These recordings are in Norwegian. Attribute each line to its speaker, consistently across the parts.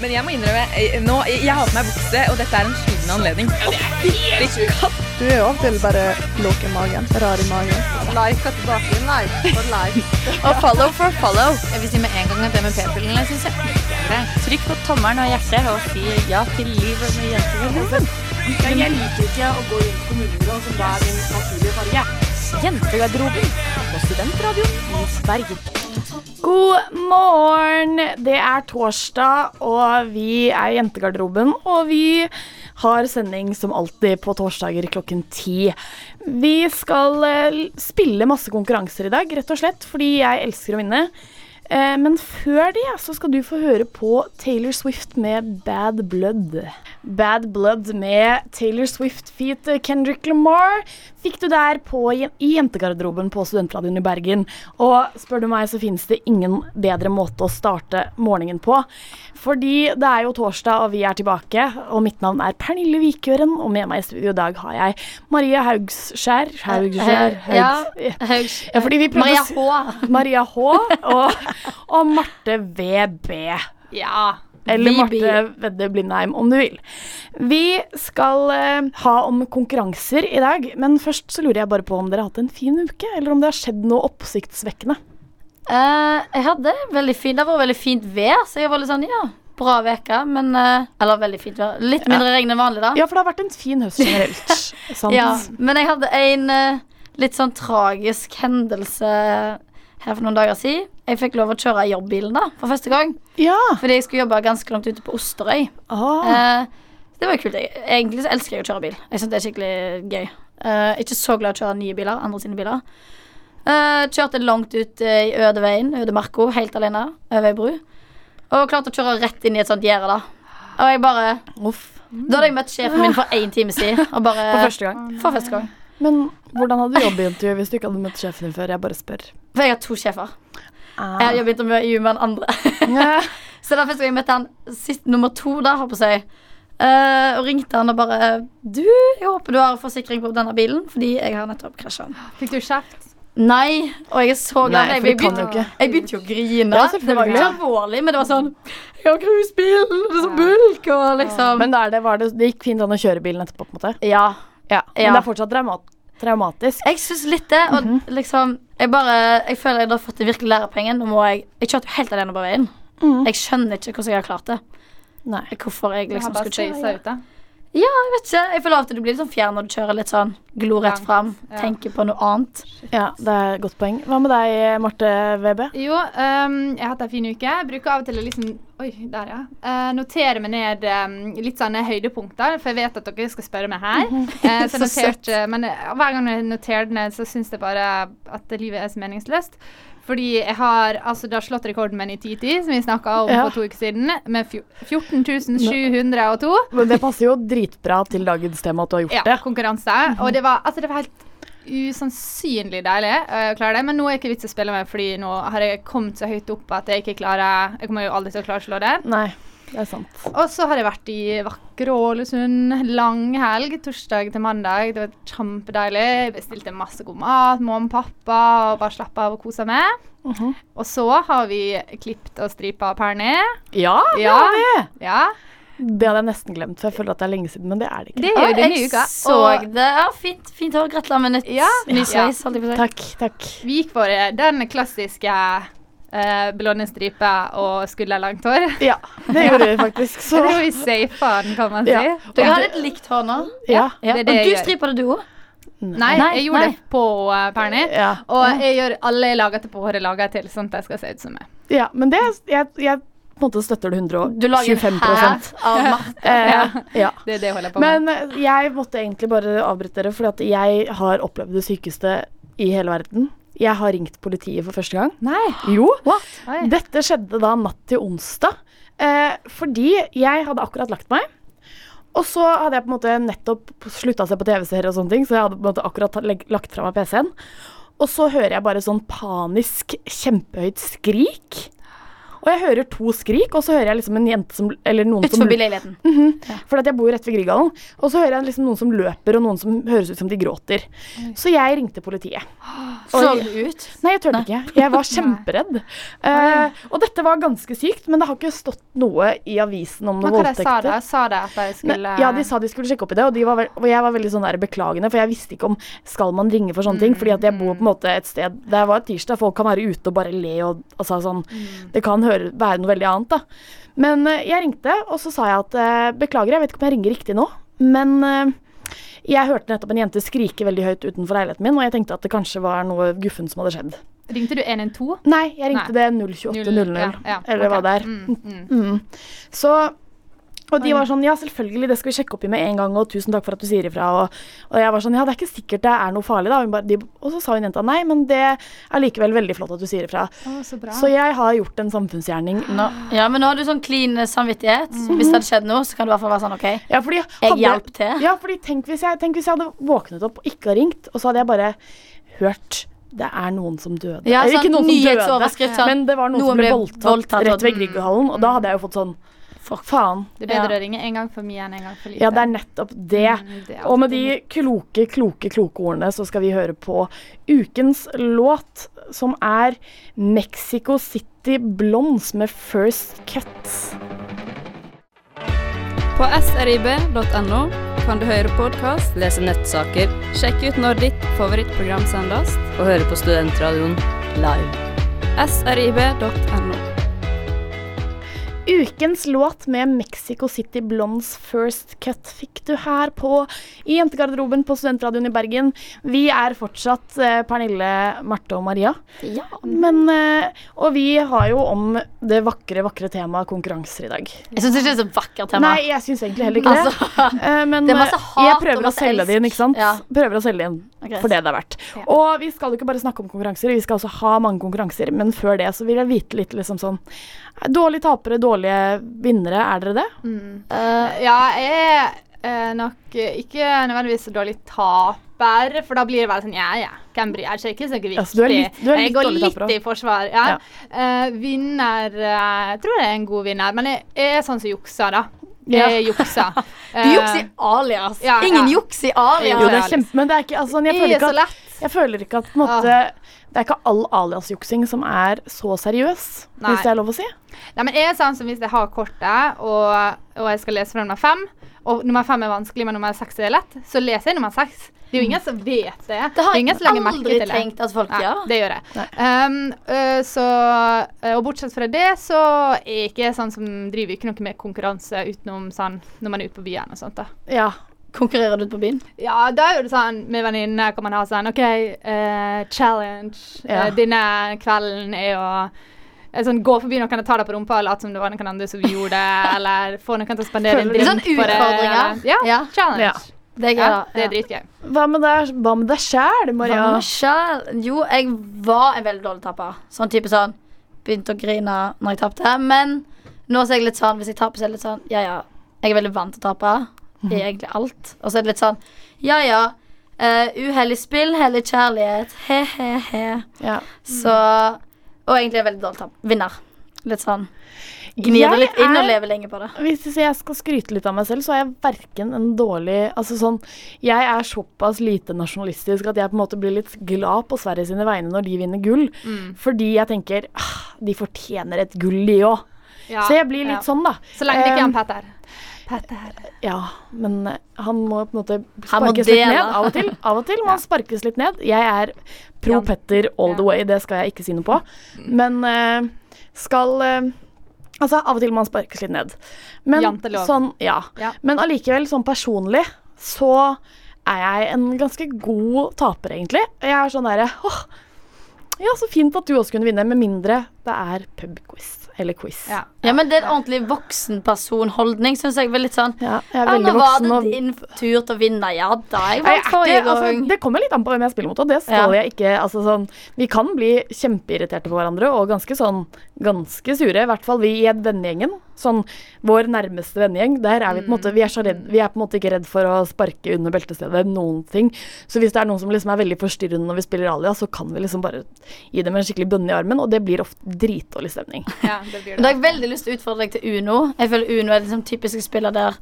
Speaker 1: Men jeg må innrømme, eh, nå, jeg har på meg bukse, og dette er en skyldende anledning. Fytti katt!
Speaker 2: Du er jo av og til bare blåk i magen. Rar i magen.
Speaker 3: Like og tilbake. Like for like.
Speaker 4: Og follow for follow.
Speaker 5: Jeg vil si med en gang at det med p-pillene syns jeg ikke er
Speaker 6: Trykk på tommelen og hjertet og si ja til livet med jentegarderoben.
Speaker 7: Jeg liker ikke å gå rundt kommunegrå som det er min naturlige farge.
Speaker 6: Jentegarderoben på Studentradioen i Bergen.
Speaker 8: God morgen! Det er torsdag, og vi er Jentegarderoben. Og vi har sending som alltid på torsdager klokken ti. Vi skal eh, spille masse konkurranser i dag, rett og slett, fordi jeg elsker å vinne. Eh, Men før det så skal du få høre på Taylor Swift med Bad Blood. Bad Blood med Taylor Swift feat eh, Kendrick Lamar fikk du der på, jen- i jentegarderoben på Studentradioen i Bergen. Og spør du meg, så finnes det ingen bedre måte å starte morgenen på. Fordi det er jo torsdag, og vi er tilbake. Og mitt navn er Pernille Vikøren, og med meg i studio i dag har jeg Marie Haugskjær. Haugskjær Haug-
Speaker 5: Ja, Haug.
Speaker 8: eh, Ja, fordi vi prøvde
Speaker 5: Maria
Speaker 8: å si-
Speaker 5: H.
Speaker 8: Maria H. og, og Marte VB.
Speaker 5: Ja.
Speaker 8: Eller
Speaker 5: VB.
Speaker 8: Marte Vedde Blindheim, om du vil. Vi skal eh, ha om konkurranser i dag, men først så lurer jeg bare på om dere har hatt en fin uke, eller om det har skjedd noe oppsiktsvekkende.
Speaker 5: Eh, jeg hadde veldig fint, det var veldig fint vær, så jeg var litt sånn, ja, bra veke, men, eh, eller veldig fint vær, litt mindre regn enn vanlig da.
Speaker 8: Ja, for det har vært en fin høst generelt. sant?
Speaker 5: Ja, men jeg hadde en eh, litt sånn tragisk hendelse her for noen dager siden. Jeg fikk lov å kjøre jobbbilen da, for første gang,
Speaker 8: ja.
Speaker 5: fordi jeg skulle jobbe ganske langt ute på Osterøy.
Speaker 8: Ah,
Speaker 5: Eh, det var jo kult. Jeg- Egentlig så elsker jeg å kjøre bil. Jeg synes det er skikkelig gøy. Eh, ikke så glad i å kjøre nye biler, andre sine biler. Eh, kjørte langt ut eh, i ødeveien, ødemarka, helt alene, over ei bru. Og klarte å kjøre rett inn i et sånt gjerde, da. Og jeg bare
Speaker 8: uff.
Speaker 5: Da hadde jeg møtt sjefen min for én time siden. Og bare,
Speaker 8: For første gang.
Speaker 5: for første gang.
Speaker 8: Men hvordan hadde du jobbintervju hvis du ikke hadde møtt sjefen din før? Jeg bare spør.
Speaker 5: For jeg har to sjefer.
Speaker 8: Ah.
Speaker 5: Jeg har jobbet med med den andre.
Speaker 8: Ja.
Speaker 5: Så da første gang jeg møtte han sist nummer to, da, har på seg, eh, og ringte han og bare Du, jeg håper du har forsikring på denne bilen, fordi jeg har nettopp krasja den.
Speaker 3: Fikk du kjeft?
Speaker 5: Nei, og jeg er så glad.
Speaker 8: Nei,
Speaker 5: jeg,
Speaker 8: for det
Speaker 5: jeg,
Speaker 8: kan
Speaker 5: begynte,
Speaker 8: jo ikke.
Speaker 5: jeg begynte jo å grine.
Speaker 8: Ja,
Speaker 5: det var jo ikke alvorlig, men det var sånn Jeg har grusbil, det er så bulk, og liksom
Speaker 8: Men da er det, var det, det gikk fint an å kjøre bilen etterpå, på en måte?
Speaker 5: Ja.
Speaker 8: Ja,
Speaker 5: Ja.
Speaker 8: Men det er fortsatt trauma traumatisk.
Speaker 5: Jeg syns litt det, og
Speaker 8: Mhm.
Speaker 5: liksom Jeg bare, jeg føler jeg har fått en virkelig lærepenge. Nå må jeg Jeg kjørte jo helt alene på veien.
Speaker 8: Mhm.
Speaker 5: Jeg skjønner ikke hvordan jeg har klart det.
Speaker 8: Nei.
Speaker 5: Hvorfor jeg
Speaker 3: Jeg
Speaker 5: liksom
Speaker 3: har bare
Speaker 5: skulle
Speaker 3: støy
Speaker 5: kjøre.
Speaker 3: seg ute.
Speaker 5: Jeg vet ikke, jeg føler av og til du blir litt sånn fjern når du kjører litt sånn glo rett
Speaker 3: Langt,
Speaker 5: fram.
Speaker 3: ja.
Speaker 5: Tenker på noe annet.
Speaker 8: Ja, det er et godt poeng. Hva med deg, Marte VB?
Speaker 3: Jo, ehm, jeg har hatt en fin uke. Jeg bruker av og til å liksom Oi, der, ja. Eh, notere meg ned ehm, litt sånne høydepunkter, for jeg vet at dere skal spørre meg her. Eh,
Speaker 5: Så
Speaker 3: så noterte- men eh, hver gang jeg noterer ned, så syns jeg bare at livet er så meningsløst. Fordi jeg har altså det har slått rekorden min i 1010, som vi snakka om
Speaker 8: Ja.
Speaker 3: for to uker siden, med fjo- 14 702.
Speaker 8: Men det passer jo dritbra til dagens tema at du har gjort
Speaker 3: Ja,
Speaker 8: det.
Speaker 3: konkurranse. Og det var, altså, det var helt usannsynlig deilig eh, å klare det. Men nå er det ikke vits å spille med, fordi nå har jeg kommet så høyt opp at jeg ikke klarer Jeg kommer jo aldri til å klare å slå den.
Speaker 8: Nei, det er sant.
Speaker 3: Og så har jeg vært i vakre Ålesund. Lang helg. Torsdag til mandag. Det var kjempedeilig. Jeg bestilte masse god mat. Mamma og pappa og bare slappa av og kosa meg.
Speaker 8: Mhm.
Speaker 3: Og så har vi klippet og stripa Pernie.
Speaker 8: Ja, det
Speaker 3: Ja.
Speaker 8: har vi!
Speaker 3: Ja,
Speaker 8: Det hadde jeg nesten glemt, for jeg føler at det er lenge siden, men det er det ikke.
Speaker 3: det gjør du denne
Speaker 5: jeg
Speaker 3: uka.
Speaker 5: så
Speaker 3: Og
Speaker 5: det. Ja, fint, fint hår. Gratulerer med nytt.
Speaker 3: Ja,
Speaker 5: Ny
Speaker 3: ja.
Speaker 5: sveis, holdt jeg på å si.
Speaker 8: Takk, takk.
Speaker 3: vi gikk for eh, den klassiske eh, blonde striper og skulderlangt hår.
Speaker 8: Ja, det gjorde vi faktisk. Så
Speaker 3: Jeg tror vi safer den, kan man si.
Speaker 8: Ja.
Speaker 5: Dere har litt likt hår nå.
Speaker 8: ja.
Speaker 5: Ja.
Speaker 3: det er
Speaker 5: Og
Speaker 3: det jeg
Speaker 5: du
Speaker 3: gjør.
Speaker 5: striper det, du òg.
Speaker 3: Nei,
Speaker 5: Nei,
Speaker 3: jeg gjorde
Speaker 5: nei.
Speaker 3: det på eh, Perny.
Speaker 8: Ja.
Speaker 3: Og jeg gjør alle jeg lager til på håret, lager jeg til, sånn at jeg skal se ut som meg.
Speaker 8: ja. Men det jeg, jeg på en måte støtter det
Speaker 5: Du lager
Speaker 8: 125
Speaker 5: en hær av Marte.
Speaker 8: eh, ja.
Speaker 3: Det er det jeg holder på med.
Speaker 8: Men eh, jeg måtte egentlig bare avbryte dere, fordi at jeg har opplevd det sykeste i hele verden. Jeg har ringt politiet for første gang.
Speaker 3: Nei.
Speaker 8: Jo.
Speaker 3: Oi.
Speaker 8: Dette skjedde da natt til onsdag. Eh, fordi jeg hadde akkurat lagt meg. Og så hadde jeg på en måte nettopp slutta å se på TV-serier, og sånne ting, så jeg hadde på en måte akkurat legg- lagt fra meg PC-en. Og så hører jeg bare sånn panisk, kjempehøyt skrik. Og jeg hører to skrik, og så hører jeg liksom en jente som Eller noen som
Speaker 5: Utenfor leiligheten.
Speaker 8: For at jeg bor jo rett ved Grieghallen. Og så hører jeg liksom noen som løper, og noen som høres ut som de gråter. Så jeg ringte politiet.
Speaker 5: Så du ut?
Speaker 8: Nei, jeg tørte ikke. Jeg var kjemperedd. Eh, og dette var ganske sykt, men det har ikke stått noe i avisen om
Speaker 3: Men
Speaker 8: noen
Speaker 3: hva de sa de?
Speaker 8: voldtekter.
Speaker 3: Sa de at de
Speaker 8: Nei,
Speaker 3: skulle
Speaker 8: Ja, de sa de skulle sjekke opp i det, og, de var vel, og jeg var veldig sånn der beklagende, for jeg visste ikke om skal man ringe for sånne ting, fordi at jeg bor på en måte et sted der var tirsdag, folk kan være ute og bare le og altså sånn Det kan høre, være noe veldig annet, da. Men eh, jeg ringte, og så sa jeg at eh, beklager, jeg vet ikke om jeg ringer riktig nå, men eh, jeg hørte nettopp en jente skrike veldig høyt utenfor leiligheten min, og jeg tenkte at det kanskje var noe guffen som hadde skjedd.
Speaker 3: Ringte du 112?
Speaker 8: Nei, jeg ringte det 02800,
Speaker 3: Null, ja, ja,
Speaker 8: eller hva
Speaker 3: ok.
Speaker 8: det er.
Speaker 3: Mm, mm.
Speaker 8: Mm. Så og de var sånn Ja, selvfølgelig, det skal vi sjekke opp i med en gang, og tusen takk for at du sier ifra. Og, og jeg var sånn Ja, det er ikke sikkert det er noe farlig, da. Hun bare- de, og så sa hun jenta nei, men det er likevel veldig flott at du sier ifra.
Speaker 3: Å, så bra.
Speaker 8: Så jeg har gjort en samfunnsgjerning.
Speaker 5: Nå, ja, men nå har du sånn clean eh, samvittighet. Hvis det hadde skjedd noe, så kan du i hvert fall være sånn OK.
Speaker 8: Ja, fordi
Speaker 5: Jeg
Speaker 8: hadde-
Speaker 5: hjalp til.
Speaker 8: Ja, fordi tenk hvis, jeg, tenk hvis jeg hadde våknet opp og ikke hadde ringt, og så hadde jeg bare hørt det er noen som døde.
Speaker 5: Ja,
Speaker 8: Eller
Speaker 5: sånn
Speaker 8: ikke noen som døde,
Speaker 5: nyhetsoverskrift, sånn,
Speaker 8: men det var noen,
Speaker 5: noen
Speaker 8: som ble
Speaker 5: ble
Speaker 8: voldtatt,
Speaker 5: voldtatt, og-
Speaker 8: rett ved Grieghallen, og da hadde jeg jo fått sånn Fuck, faen.
Speaker 3: det er bedre
Speaker 5: ja.
Speaker 3: å ringe en gang for mye enn en gang for lite.
Speaker 8: Ja, det er nettopp det.
Speaker 3: Mm, det er
Speaker 8: Og med
Speaker 3: alltid
Speaker 8: de kloke, kloke, kloke ordene så skal vi høre på ukens låt, som er Mexico City Blondes med First Cut.
Speaker 9: På srib.no kan du høre podkast, lese nettsaker, sjekke ut når ditt favorittprogram sendes, og høre på Studentradioen live. srib.no.
Speaker 8: Ukens låt med Mexico City Blondes First Cut fikk du her på i jentegarderoben på Studentradioen i Bergen. Vi er fortsatt eh, Pernille, Marte og Maria.
Speaker 5: Ja.
Speaker 3: Mm.
Speaker 8: Men, eh, og vi har jo om det vakre, vakre temaet konkurranser i dag.
Speaker 5: Jeg syns ikke det er så vakkert tema.
Speaker 8: Nei, jeg syns egentlig heller ikke det.
Speaker 5: altså,
Speaker 8: Eh, men
Speaker 5: Det er masse
Speaker 8: eh,
Speaker 5: hat
Speaker 8: jeg
Speaker 5: og
Speaker 8: prøver å
Speaker 5: masse
Speaker 8: selge
Speaker 5: elsk.
Speaker 8: det inn, ikke sant?
Speaker 5: Ja.
Speaker 8: Prøver å selge det inn
Speaker 5: Ok.
Speaker 8: for det det er verdt. Og vi skal jo ikke bare snakke om konkurranser, vi skal også ha mange konkurranser, men før det så vil jeg vite litt liksom sånn eh, Dårlige tapere, dårlige vinnere, er dere det?
Speaker 5: Mm.
Speaker 3: Eh, ja, jeg er eh, nok eh, ikke nødvendigvis så dårlig taper, for da blir det bare sånn ja, ja, hvem bryr seg, ikke så viktig.
Speaker 8: Ja, så du er litt- du er litt
Speaker 3: jeg går
Speaker 8: dårlig
Speaker 3: litt
Speaker 8: taper også.
Speaker 3: i forsvar, ja.
Speaker 8: Ja.
Speaker 3: Eh, vinner eh, Jeg tror jeg er en god vinner, men jeg, jeg er sånn som jukser, da.
Speaker 8: Ja.
Speaker 3: Jeg jukser.
Speaker 5: Du juks i alias.
Speaker 3: Eh, Ja, ja.
Speaker 5: Ingen juks i alias.
Speaker 8: Jo, det
Speaker 3: ja,
Speaker 8: er kjempe... Men det er ikke altså, jeg,
Speaker 3: Eh, Jeg
Speaker 8: føler
Speaker 3: er
Speaker 8: ikke
Speaker 3: så
Speaker 8: at,
Speaker 3: lett.
Speaker 8: jeg føler ikke at på en
Speaker 5: Ah.
Speaker 8: måte Det er ikke all aliasjuksing som er så seriøs,
Speaker 3: Nei.
Speaker 8: hvis det er lov å si.
Speaker 3: Nei, men jeg er sånn som hvis jeg har kortet, og, og jeg skal lese fra nummer fem, og nummer fem er vanskelig, men nummer seks er lett, så leser jeg nummer seks. Det er jo ingen som vet det.
Speaker 5: Det har
Speaker 3: er ingen som legger
Speaker 5: jeg
Speaker 3: merke
Speaker 5: aldri
Speaker 3: til det.
Speaker 5: tenkt at folk
Speaker 3: Nei,
Speaker 5: gjør.
Speaker 3: det gjør jeg. Um, øh, så, øh, og bortsett fra det, så er jeg ikke sånn som driver ikke noe med konkurranse utenom sånn når man er ute på byen og sånt. da.
Speaker 8: Ja.
Speaker 5: Konkurrerer du ute på byen?
Speaker 3: Ja, da er jo det sånn med venninner kan man ha sånn OK, eh, challenge.
Speaker 8: Ja.
Speaker 3: Eh, denne kvelden er å eh, sånn, gå forbi noen og ta deg på rumpa og late som det var noen andre som gjorde det, eller få noen til å spandere en
Speaker 8: Føler du-
Speaker 3: drink
Speaker 5: Sånn
Speaker 3: på det.
Speaker 5: utfordringer?
Speaker 3: eller- Ja,
Speaker 5: Ja.
Speaker 3: challenge.
Speaker 8: Ja.
Speaker 5: Det er gøy,
Speaker 3: Ja,
Speaker 5: da.
Speaker 3: det
Speaker 5: Ja.
Speaker 3: er dritgøy.
Speaker 8: Hva med deg, hva med deg sjæl, Maria?
Speaker 5: Hva med sjæl? Jo, jeg var en veldig dårlig tapper. Sånn type sånn Begynte å grine når jeg tapte. Men nå så er jeg litt sånn hvis jeg taper, så er jeg litt sånn Ja, ja. Jeg er veldig vant til å tape i egentlig alt. Og så er det litt sånn Ja, ja. eh, uhellig spill, hellig kjærlighet. He-he-he.
Speaker 8: Ja.
Speaker 5: Så Og egentlig er jeg veldig dårlig taper. Vinner. Litt sånn Gnir det
Speaker 8: Jeg
Speaker 5: litt inn
Speaker 8: er-
Speaker 5: og lever lenge på det.
Speaker 8: Hvis jeg jeg skal skryte litt av meg selv, så er jeg verken en dårlig Altså sånn Jeg er såpass lite nasjonalistisk at jeg på en måte blir litt glad på Sverige sine vegne når de vinner gull.
Speaker 3: Mm.
Speaker 8: Fordi jeg tenker ah, de fortjener et gull, de òg.
Speaker 3: Ja,
Speaker 8: Så jeg blir litt
Speaker 3: ja.
Speaker 8: sånn, da.
Speaker 3: Så lenge det ikke er
Speaker 8: Eh,
Speaker 3: en Petter. Petter.
Speaker 8: Ja, men eh, han må på en måte
Speaker 5: Han må
Speaker 8: sparkes litt
Speaker 5: dele.
Speaker 8: ned av og til. Av og til må han sparkes litt ned. Jeg er pro
Speaker 3: Ja.
Speaker 8: Petter all the
Speaker 3: Ja.
Speaker 8: way, det skal jeg ikke si noe på. Men eh, skal eh, Altså, av og til må han sparkes litt ned. Men
Speaker 3: Jantelov.
Speaker 8: sånn, ja.
Speaker 3: Ja.
Speaker 8: Men allikevel, sånn personlig, så er jeg en ganske god taper, egentlig. Jeg er sånn derre åh, ja, så fint at du også kunne vinne, med mindre det er pubquiz eller quiz.
Speaker 3: Ja.
Speaker 5: Ja, men det er en ordentlig voksenpersonholdning, syns jeg. Vel litt sånn
Speaker 8: Ja, jeg er
Speaker 5: Ja,
Speaker 8: veldig
Speaker 5: nå var
Speaker 8: voksen
Speaker 5: det
Speaker 8: og
Speaker 5: din tur til å vinne. Ja da,
Speaker 8: Nei,
Speaker 5: jeg vant
Speaker 8: jeg er
Speaker 5: forrige
Speaker 8: ikke,
Speaker 5: gang.
Speaker 8: altså, det kommer litt an på hvem jeg spiller mot, og det skal
Speaker 5: Ja.
Speaker 8: jeg ikke altså, sånn, Vi kan bli kjempeirriterte på hverandre og ganske sånn ganske sure. I hvert fall vi i vennegjengen. Sånn vår nærmeste vennegjeng. Der er vi på en måte Vi er, så redd, vi er på en måte ikke redd for å sparke under beltestedet noen ting. Så hvis det er noen som liksom er veldig forstyrrende når vi spiller Alia, så kan vi liksom bare gi dem en skikkelig bønne i armen, og det blir ofte, dritdårlig stemning.
Speaker 3: Ja, det blir
Speaker 5: Men Da
Speaker 3: det.
Speaker 5: har jeg veldig lyst til å utfordre deg til Uno. Jeg føler Uno er liksom typiske spiller der,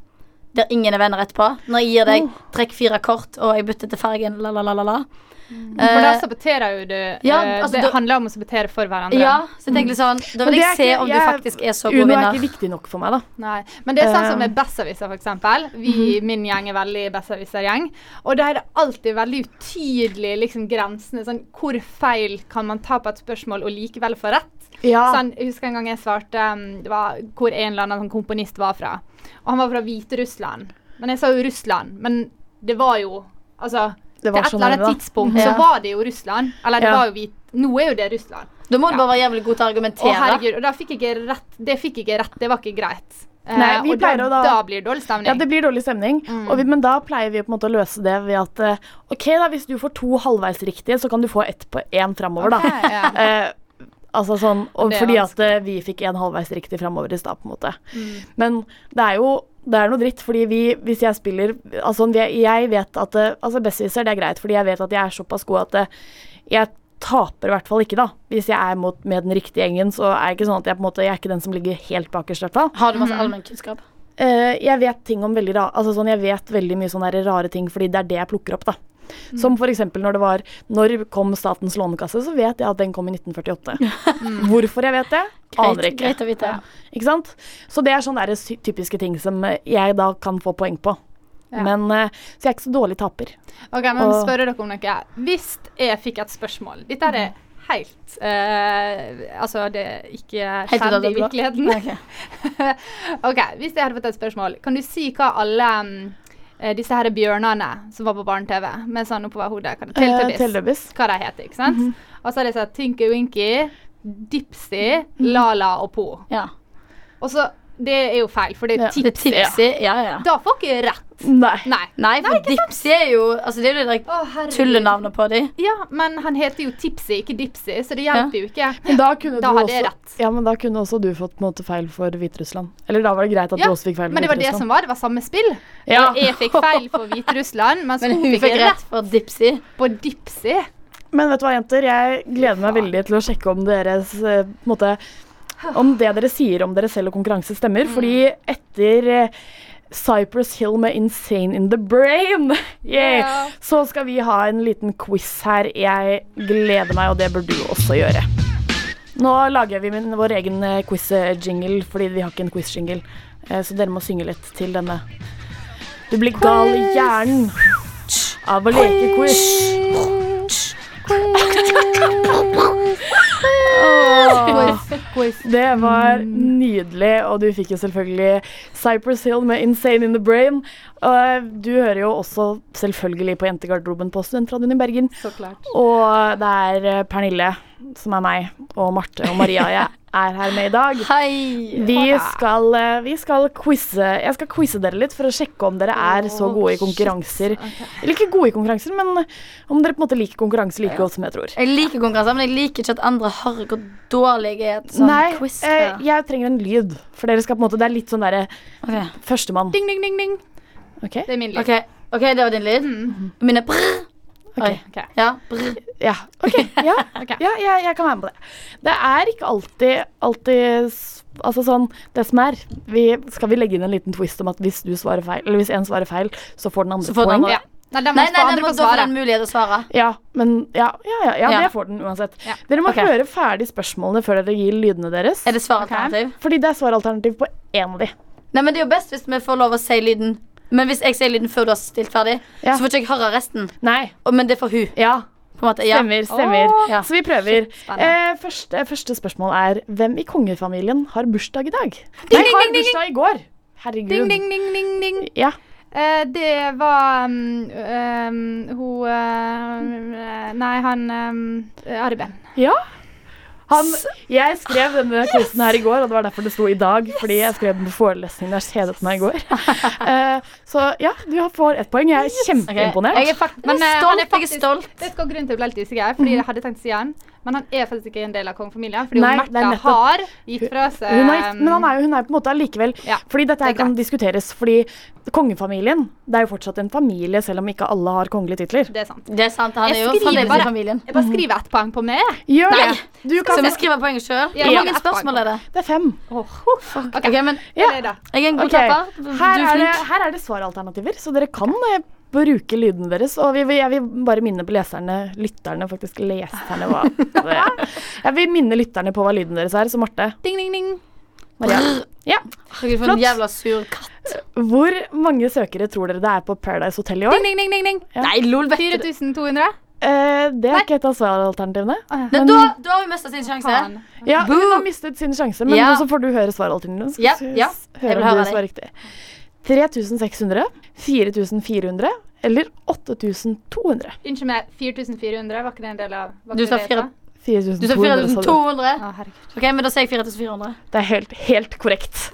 Speaker 5: der ingen er venner etterpå. Når jeg gir
Speaker 8: Oh.
Speaker 5: deg trekk fire kort, og jeg bytter til fargen, la, la, la, la, la.
Speaker 8: Mm.
Speaker 3: For da
Speaker 5: Eh,
Speaker 3: saboterer jo du
Speaker 5: Ja,
Speaker 3: eh,
Speaker 5: altså,
Speaker 3: Det
Speaker 5: da-
Speaker 3: handler om å sabotere for hverandre.
Speaker 5: ja, så jeg tenker litt sånn Da
Speaker 8: Mm. Men
Speaker 5: vil
Speaker 8: det
Speaker 5: jeg
Speaker 8: er
Speaker 5: se
Speaker 8: ikke-
Speaker 5: om du
Speaker 8: jeg-
Speaker 5: faktisk er så god
Speaker 8: Uno er
Speaker 5: vinner.
Speaker 8: ikke viktig nok for meg, da.
Speaker 3: Nei. Men det er sånn som
Speaker 8: Eh.
Speaker 3: med Besserwisser, for eksempel. Vi i
Speaker 5: Mhm.
Speaker 3: min gjeng er veldig Besserwisser-gjeng. Og da er det alltid veldig utydelig liksom, grensene. Sånn, hvor feil kan man ta på et spørsmål og likevel få rett? Sånn, jeg husker en gang jeg svarte um, det var, hvor en eller annen sånn komponist var fra. Og han var fra Hviterussland. Men jeg sa jo Russland. Men det var jo Altså,
Speaker 8: Det
Speaker 3: til
Speaker 8: var
Speaker 3: et
Speaker 8: så
Speaker 3: eller annet
Speaker 8: nærme, da.
Speaker 3: tidspunkt så
Speaker 5: Ja.
Speaker 3: var det jo Russland. Eller det
Speaker 8: Ja.
Speaker 3: var jo hvit... Nå er jo det Russland.
Speaker 5: Da må du
Speaker 3: Ja.
Speaker 5: bare være jævlig god til å
Speaker 3: Å,
Speaker 5: argumentere.
Speaker 3: herregud. Og da fikk jeg ikke rett. Det fikk jeg ikke rett. Det var ikke greit. Eh,
Speaker 8: Nei, vi
Speaker 3: og da,
Speaker 8: pleier å da-
Speaker 3: da blir det dårlig stemning.
Speaker 8: Ja, det blir dårlig stemning.
Speaker 3: Mm.
Speaker 8: Og vi, men da pleier vi på en måte å løse det ved at eh, OK, da, hvis du får to halvveis riktige, så kan du få ett på én framover, da.
Speaker 3: ja.
Speaker 8: Eh, altså sånn, og
Speaker 3: Det er
Speaker 8: fordi at eh, vi fikk en halvveis riktig framover i stad, på en måte.
Speaker 3: Mm.
Speaker 8: Men det er jo det er noe dritt, fordi vi, hvis jeg spiller Altså, vi- jeg vet at eh, Altså, Bessiser, det er greit, fordi jeg vet at jeg er såpass god at eh, jeg taper i hvert fall ikke, da. Hvis jeg er mot, med den riktige gjengen, så er det ikke sånn at jeg på en måte Jeg er ikke den som ligger helt bakerst, i hvert fall.
Speaker 5: Har du masse allmennkunnskap?
Speaker 8: Eh, jeg vet ting om veldig ra altså sånn, jeg vet veldig mye sånne der rare ting, fordi det er det jeg plukker opp. da. Som for eksempel når det var Når kom Statens lånekasse, så vet jeg at den kom i 1948. Mm. Hvorfor jeg vet det, aner
Speaker 5: Greit,
Speaker 8: jeg ikke.
Speaker 5: greit å vite.
Speaker 8: Ikke sant? Så det er sånne der sy- typiske ting som eh, jeg da kan få poeng på.
Speaker 3: Ja.
Speaker 8: Men, eh, så jeg er ikke så dårlig taper.
Speaker 3: Ok, men
Speaker 8: Og-
Speaker 3: spørre dere om noe. Hvis jeg fikk et spørsmål Dette er helt eh, Altså, det er ikke
Speaker 5: Helt ut av
Speaker 3: skjedde
Speaker 5: det
Speaker 3: i
Speaker 5: blå.
Speaker 3: virkeligheten. ok, Hvis jeg hadde fått et spørsmål, kan du si hva alle mm, eh, disse her bjørnene som var på barne-TV med sånn oppover hodet kan-
Speaker 8: Eh, Mhm.
Speaker 3: Teletubbies.
Speaker 8: Teletubbies.
Speaker 3: hva de heter, ikke sant? Og så er det sånn Tinky Winky,
Speaker 8: Mhm.
Speaker 3: Dipsy, Lala og Po.
Speaker 5: Ja.
Speaker 3: Og så Det er jo feil, for det
Speaker 8: Ja.
Speaker 3: er
Speaker 5: Det er
Speaker 3: tips.
Speaker 5: tipsy. Ja, ja.
Speaker 3: Da får ikke jeg rett.
Speaker 8: Nei.
Speaker 3: Nei.
Speaker 5: Nei, for dipsy er jo Altså, det er jo det der
Speaker 3: Å, herregud.
Speaker 5: tullenavnet på dem.
Speaker 3: Ja, men han heter jo Tipsy, ikke Dipsy, så det hjelper jo ikke.
Speaker 8: Men da kunne
Speaker 3: Da
Speaker 8: du
Speaker 3: hadde jeg
Speaker 8: også,
Speaker 3: rett.
Speaker 8: ja, men da kunne også du fått på en måte, feil for Hviterussland. Eller da var det greit at
Speaker 3: Ja,
Speaker 8: du også fikk feil for
Speaker 3: Men det var det som
Speaker 8: Hviterussland.
Speaker 3: var. Det var samme spill.
Speaker 8: Ja.
Speaker 3: Og jeg fikk feil for Hviterussland, mens
Speaker 5: Men
Speaker 3: hun
Speaker 5: hun fikk rett for dipsy.
Speaker 3: på Dipsy.
Speaker 8: Men vet du hva, jenter? Jeg gleder meg veldig til å sjekke om deres eh, på en måte, Om det dere sier om dere selv og konkurranse, stemmer. Fordi etter eh, Cypress Hill med 'Insane in the Brain', yeah,
Speaker 3: Ja.
Speaker 8: så skal vi ha en liten quiz her. Jeg gleder meg, og det bør du også gjøre. Nå lager vi min, vår egen eh, quiz-jingle, fordi vi har ikke en quiz-jingle. Eh, Så dere må synge litt til denne. Du blir gal i hjernen av å leke quiz. Åh, Det var
Speaker 5: Mm.
Speaker 8: nydelig, og du fikk jo selvfølgelig Cypress Hill med 'Insane in the Brain'. Og du hører jo også selvfølgelig på Jentegarderoben på Studentradioen i Bergen.
Speaker 3: Så klart.
Speaker 8: Og det er eh, Pernille, som er meg, og Marte og Maria jeg er her med i dag.
Speaker 5: Hei!
Speaker 8: Vi skal, eh, vi skal quize. Jeg skal quize dere litt for å sjekke om dere er så gode i konkurranser. Eller ikke gode i konkurranser, men eh, om dere på en måte liker konkurranse like godt som jeg tror.
Speaker 5: Jeg liker konkurranser, men jeg liker ikke at andre har hvor dårlig jeg er i et sånn
Speaker 8: Nei,
Speaker 5: quiz.
Speaker 8: eh, jeg trenger en lyd. For dere skal på en måte, det er litt sånn derre
Speaker 5: Ok.
Speaker 8: førstemann.
Speaker 3: Ding, ding, ding, ding.
Speaker 8: Ok?
Speaker 3: Det er min lyd.
Speaker 5: Ok, ok, det var din lyd. Min er brr. Oi.
Speaker 3: Ok.
Speaker 5: Ja, brr.
Speaker 8: Ja, ok. Ja,
Speaker 3: Ok.
Speaker 8: ja jeg, jeg kan være med på det. Det er ikke alltid, alltid s- Altså sånn, det som er vi, Skal vi legge inn en liten twist om at hvis du svarer feil, eller hvis en svarer feil, så får den andre
Speaker 5: Så får den
Speaker 8: poeng?
Speaker 5: andre-
Speaker 3: Ja. Nei, den må
Speaker 5: Nei, nei,
Speaker 3: få
Speaker 5: nei,
Speaker 3: andre
Speaker 5: men
Speaker 3: få
Speaker 5: da får
Speaker 3: svare.
Speaker 5: den mulighet å svare.
Speaker 8: Ja, men ja, ja, ja, ja,
Speaker 5: Ja.
Speaker 8: det får den uansett.
Speaker 3: Ja.
Speaker 8: Dere må
Speaker 5: Ok.
Speaker 8: høre ferdig spørsmålene før dere gir lydene deres.
Speaker 5: Er det svaralternativ?
Speaker 8: Fordi det er svaralternativ på én av de.
Speaker 5: Nei, men det er jo best hvis vi får lov å si lyden. Men hvis jeg sier lyden før du har stilt ferdig,
Speaker 8: Ja.
Speaker 5: så får ikke jeg høre resten.
Speaker 8: Nei.
Speaker 5: Og- Men det får hun.
Speaker 8: Ja.
Speaker 5: På en måte. Ja.
Speaker 8: Stemmer, stemmer.
Speaker 5: Ja.
Speaker 8: Så vi prøver.
Speaker 3: spennende.
Speaker 8: Eh, første, første spørsmål er hvem i kongefamilien har bursdag i dag? Nei, har bursdag i går. Herregud.
Speaker 3: Ding, ding, ding, ding, ding.
Speaker 8: Ja.
Speaker 3: Eh, det var um, um, hun eh, Nei, han um, Arben.
Speaker 8: ja. Han, jeg skrev denne quizen her i går, og det var derfor det sto i dag. Fordi jeg skrev den på forelesningen der kjedet meg i går. Eh, så ja, du får ett poeng. Jeg er
Speaker 5: Ok, Jeg
Speaker 8: kjempeimponert.
Speaker 5: er, fakt
Speaker 3: Men,
Speaker 5: jeg
Speaker 3: eh,
Speaker 5: er
Speaker 3: han
Speaker 5: stolt.
Speaker 3: er
Speaker 5: Jeg er
Speaker 3: faktisk-
Speaker 5: stolt.
Speaker 3: Vet du hva grunnen til at jeg ble litt usikker? Fordi jeg hadde tenkt å si han. Men han er faktisk ikke en del av kongefamilien, fordi
Speaker 8: Nei,
Speaker 3: Nei,
Speaker 8: det er
Speaker 3: Märtha
Speaker 8: nettopp-
Speaker 3: har gitt fra seg
Speaker 8: Hun er gift, men han er jo, hun er jo på en måte allikevel
Speaker 3: um, Ja,
Speaker 8: Fordi dette her
Speaker 3: det er
Speaker 8: kan
Speaker 3: greit.
Speaker 8: diskuteres. Fordi kongefamilien det er jo fortsatt en familie, selv om ikke alle har kongelige titler.
Speaker 3: ehm, Det er sant.
Speaker 5: Det er sant. Han
Speaker 3: Jeg
Speaker 5: er jo
Speaker 3: skriver
Speaker 5: fremdeles
Speaker 3: bare.
Speaker 5: i familien.
Speaker 3: Jeg bare skriver ett poeng på meg.
Speaker 8: Gjør
Speaker 5: Nei.
Speaker 8: det! Du
Speaker 5: Så
Speaker 8: kan
Speaker 5: vi skriver poenget sjøl.
Speaker 3: Ja,
Speaker 5: Hvor
Speaker 3: ja.
Speaker 5: mange spørsmål er det?
Speaker 8: Det er fem.
Speaker 5: Ok, men
Speaker 8: Ja.
Speaker 3: Eller da.
Speaker 5: Jeg er en god
Speaker 8: Ok.
Speaker 5: klapper. Du
Speaker 8: Her
Speaker 5: er
Speaker 8: er, det,
Speaker 5: flink.
Speaker 8: her er det svaralternativer, så dere kan eh, bruke lyden deres. Og vi, vi, jeg vil bare minne på leserne, lytterne, faktisk leserne hva Jeg vil minne lytterne på hva lyden deres er, så Marte.
Speaker 3: Ding, ding, ding.
Speaker 5: Ja.
Speaker 8: Ja.
Speaker 5: Herregud, for
Speaker 8: Flott.
Speaker 5: en jævla sur katt.
Speaker 8: Hvor mange søkere tror dere det er på Paradise Hotel i år?
Speaker 3: Ding, ding, ding, ding, ding.
Speaker 8: Ja.
Speaker 5: Nei, lol, vet du.
Speaker 3: 4200.
Speaker 8: Eh, det er ikke et av svaralternativene.
Speaker 5: Nei, da, da har hun mista sin sjanse.
Speaker 3: Faen.
Speaker 8: Ja, hun har mistet sin sjanse, men
Speaker 5: Ja.
Speaker 8: nå så får du høre svaralternativene.
Speaker 5: Ja,
Speaker 8: Skal vi
Speaker 5: ja.
Speaker 8: s-
Speaker 5: Jeg
Speaker 8: Høre
Speaker 5: vil
Speaker 8: om
Speaker 5: høre
Speaker 8: du svarer riktig. 3600, 4400 eller 8400?
Speaker 3: Unnskyld meg, 4400 var ikke det en del av var
Speaker 5: Du
Speaker 3: ikke
Speaker 5: sa
Speaker 3: det
Speaker 5: fire-
Speaker 3: det Dus
Speaker 5: Du sa
Speaker 8: 4200, sa du.
Speaker 5: 4200.
Speaker 3: Å, herregud.
Speaker 5: Ok, men da sier jeg 4400.
Speaker 8: Det er helt, helt korrekt.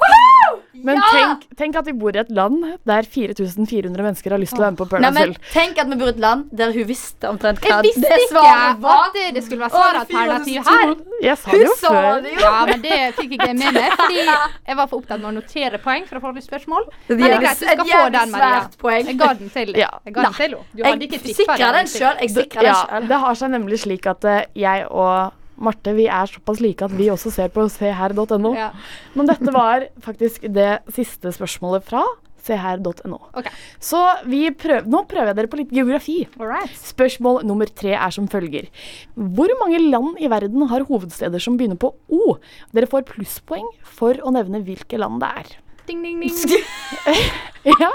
Speaker 8: Men tenk, tenk at vi bor i et land der 4400 mennesker har lyst til å være med på
Speaker 3: Nou,
Speaker 5: Nei,
Speaker 8: Paradise
Speaker 5: men
Speaker 8: Hotel.
Speaker 5: tenk at vi bor i et land der hun visste omtrent hva
Speaker 3: Jeg visste
Speaker 5: det
Speaker 3: ikke
Speaker 5: svaret var.
Speaker 3: at det skulle være svaralternativ her.
Speaker 8: Jeg sa det jo
Speaker 5: sa
Speaker 8: før.
Speaker 5: det
Speaker 3: Ja, men det fikk ikke jeg med meg, fordi jeg var for opptatt med å notere poeng for å få litt spørsmål. Men det er greit, du skal få
Speaker 8: dus
Speaker 3: den, Maria.
Speaker 5: svært poeng.
Speaker 3: Jeg ga den til deg.
Speaker 8: Ja.
Speaker 3: Jeg ga den til henne. Du hadde ikke
Speaker 5: Jeg
Speaker 3: tippet
Speaker 5: sikra den
Speaker 3: egentlig.
Speaker 5: sjøl. Jeg sikra den
Speaker 8: Ja,
Speaker 5: sjøl.
Speaker 8: det har seg nemlig slik at eh, jeg og Marte vi er såpass like at vi også ser på seher.no.
Speaker 3: Ja.
Speaker 8: Men dette var faktisk det siste spørsmålet fra seher.no.
Speaker 3: Ok.
Speaker 8: Så vi prøv, nå prøver jeg dere på litt geografi.
Speaker 3: All right.
Speaker 8: Spørsmål nummer tre er som følger. Hvor mange land i verden har hovedsteder som begynner på O? Dere får plusspoeng for å nevne hvilke land det er.
Speaker 3: Ding, ding, ding.
Speaker 8: Ja,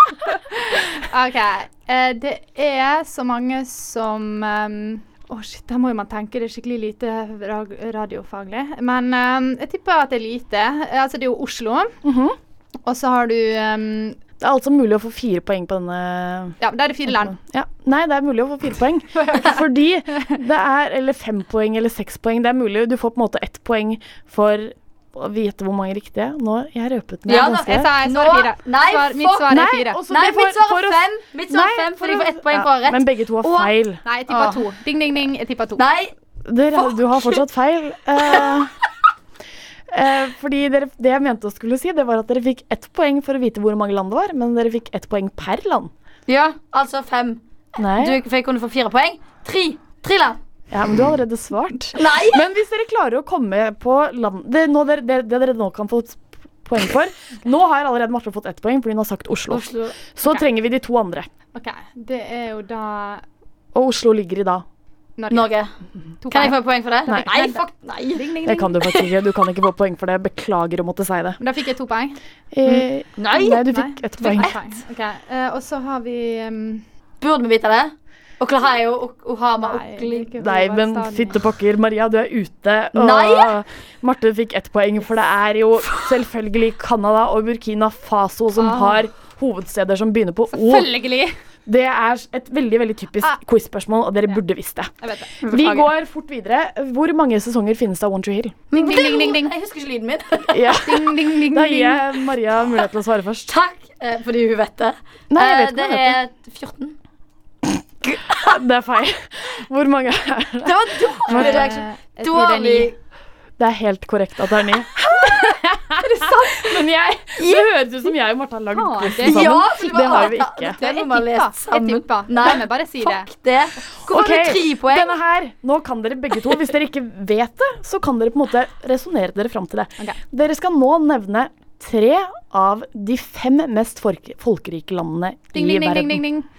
Speaker 3: OK. eh, Det er så mange som ehm, Å, shit, da må jo man tenke det er skikkelig lite ra- radiofaglig. Men ehm, jeg tipper at det er lite. Eh, Altså, det er jo Oslo.
Speaker 5: Mhm.
Speaker 3: Og så har du ehm,
Speaker 8: Det er altså mulig å få fire poeng på denne
Speaker 3: Ja, da er det fire land.
Speaker 8: Ja. Nei, det er mulig å få fire poeng. Fordi det er Eller fem poeng eller seks poeng. Det er mulig. Du får på en måte ett poeng for å vite hvor mange riktige. Nå, jeg røpet meg
Speaker 5: Ja, da,
Speaker 8: ganske.
Speaker 3: Jeg sa jeg svarer
Speaker 5: Nå-
Speaker 3: fire.
Speaker 5: Nei,
Speaker 3: Svar, mitt
Speaker 5: fuck.
Speaker 3: svar er
Speaker 8: Nei,
Speaker 3: fire.
Speaker 8: også
Speaker 5: Nei,
Speaker 8: det
Speaker 5: mitt svar
Speaker 8: for
Speaker 5: er
Speaker 8: oss-
Speaker 5: fem. Mitt svar er
Speaker 8: Nei,
Speaker 5: fem, for
Speaker 8: for
Speaker 5: du får
Speaker 8: oss-
Speaker 5: ett poeng
Speaker 8: ja,
Speaker 5: for rett.
Speaker 8: Men begge to har
Speaker 5: Og-
Speaker 8: feil.
Speaker 3: Nei, jeg tippa
Speaker 5: Åh.
Speaker 3: to. Ding, ding, ding. Jeg tippa to.
Speaker 5: Nei,
Speaker 8: Dere, du har fortsatt feil. Eh, eh, fordi dere, Det jeg mente å skulle si, det var at dere fikk ett poeng for å vite hvor mange land det var, men dere fikk ett poeng per land.
Speaker 5: ja, altså fem. Du
Speaker 8: Nei.
Speaker 5: for jeg kunne få fire poeng. Tre. Tre land.
Speaker 8: Ja, men du har allerede svart.
Speaker 5: Nei!
Speaker 8: Men hvis dere klarer å komme på land det, nå, dere, det, det dere nå kan få s- poeng for Nå har allerede Marte fått ett poeng fordi hun har sagt Oslo.
Speaker 5: Oslo.
Speaker 8: Så trenger vi de to andre.
Speaker 3: OK. Det er jo da
Speaker 8: Og Oslo ligger i da.
Speaker 3: Norge.
Speaker 5: Norge.
Speaker 3: To
Speaker 5: Kan jeg
Speaker 3: poeng.
Speaker 5: få poeng for det?
Speaker 8: Nei.
Speaker 5: fuck, nei.
Speaker 3: Ding, ding,
Speaker 8: Det
Speaker 3: ding.
Speaker 8: kan du faktisk ikke. Du kan ikke få poeng for det. Beklager å måtte si det.
Speaker 3: Men Da fikk jeg to poeng.
Speaker 8: Eh,
Speaker 5: Nei.
Speaker 8: nei, du
Speaker 3: Nei,
Speaker 8: fikk ett poeng.
Speaker 3: ett poeng. Ok, eh, og så har vi ehm,
Speaker 5: Burde vi vite det? Oklahio, Ok- Ohama,
Speaker 3: Nei, det er
Speaker 5: Oklahoma
Speaker 3: ikke Eh,
Speaker 8: Nei, men
Speaker 3: hovedstaden.
Speaker 8: fytte pokker, Maria, du er ute. Og
Speaker 5: Nei!
Speaker 8: Marte fikk ett poeng, for det er jo selvfølgelig Canada og Burkina Faso som
Speaker 3: Ah.
Speaker 8: har hovedsteder som begynner på O.
Speaker 3: Selvfølgelig!
Speaker 8: Det er et veldig veldig typisk
Speaker 3: Ah.
Speaker 8: quiz-spørsmål, og dere burde visst det.
Speaker 3: Jeg vet det.
Speaker 8: Vi går fort videre. Hvor mange sesonger finnes det av One Tree Hill?
Speaker 3: Ding, ding, ding, ding, ding.
Speaker 5: Jeg husker ikke lyden min.
Speaker 8: Ja,
Speaker 3: ding, ding, ding,
Speaker 8: Da
Speaker 3: ding,
Speaker 8: gir
Speaker 3: ding.
Speaker 8: jeg Maria mulighet til å svare først.
Speaker 5: Takk eh, fordi hun vet det.
Speaker 8: Nei, jeg
Speaker 5: Eh,
Speaker 8: vet ikke
Speaker 5: det
Speaker 8: om jeg vet
Speaker 5: er 14.
Speaker 8: det. Det er feil. Hvor mange er det?
Speaker 5: Det var dårlig reaksjon.
Speaker 3: Eh, jeg tror det er
Speaker 5: Dårlig.
Speaker 3: ni.
Speaker 8: Det er helt korrekt at det er ni. Men jeg, det høres ut som jeg og Marte har lagd
Speaker 3: Ah, det-
Speaker 8: quizen sammen.
Speaker 5: Ja, for
Speaker 8: Det har vi ikke.
Speaker 5: Det
Speaker 3: Jeg
Speaker 5: må man
Speaker 3: tippa.
Speaker 5: lese sammen.
Speaker 3: Jeg tippa.
Speaker 5: Nei,
Speaker 3: La meg bare si det.
Speaker 5: fuck det. Hvorfor
Speaker 8: Ok,
Speaker 5: har du tre poeng?
Speaker 8: Denne her, nå kan dere begge to. Hvis dere ikke vet det, så kan dere på en måte resonnere dere fram til det.
Speaker 3: Ok.
Speaker 8: Dere skal nå nevne tre av de fem mest folk folkerike landene
Speaker 3: Ding,
Speaker 8: i
Speaker 3: ding, ding,
Speaker 8: verden.
Speaker 3: ding, ding, ding.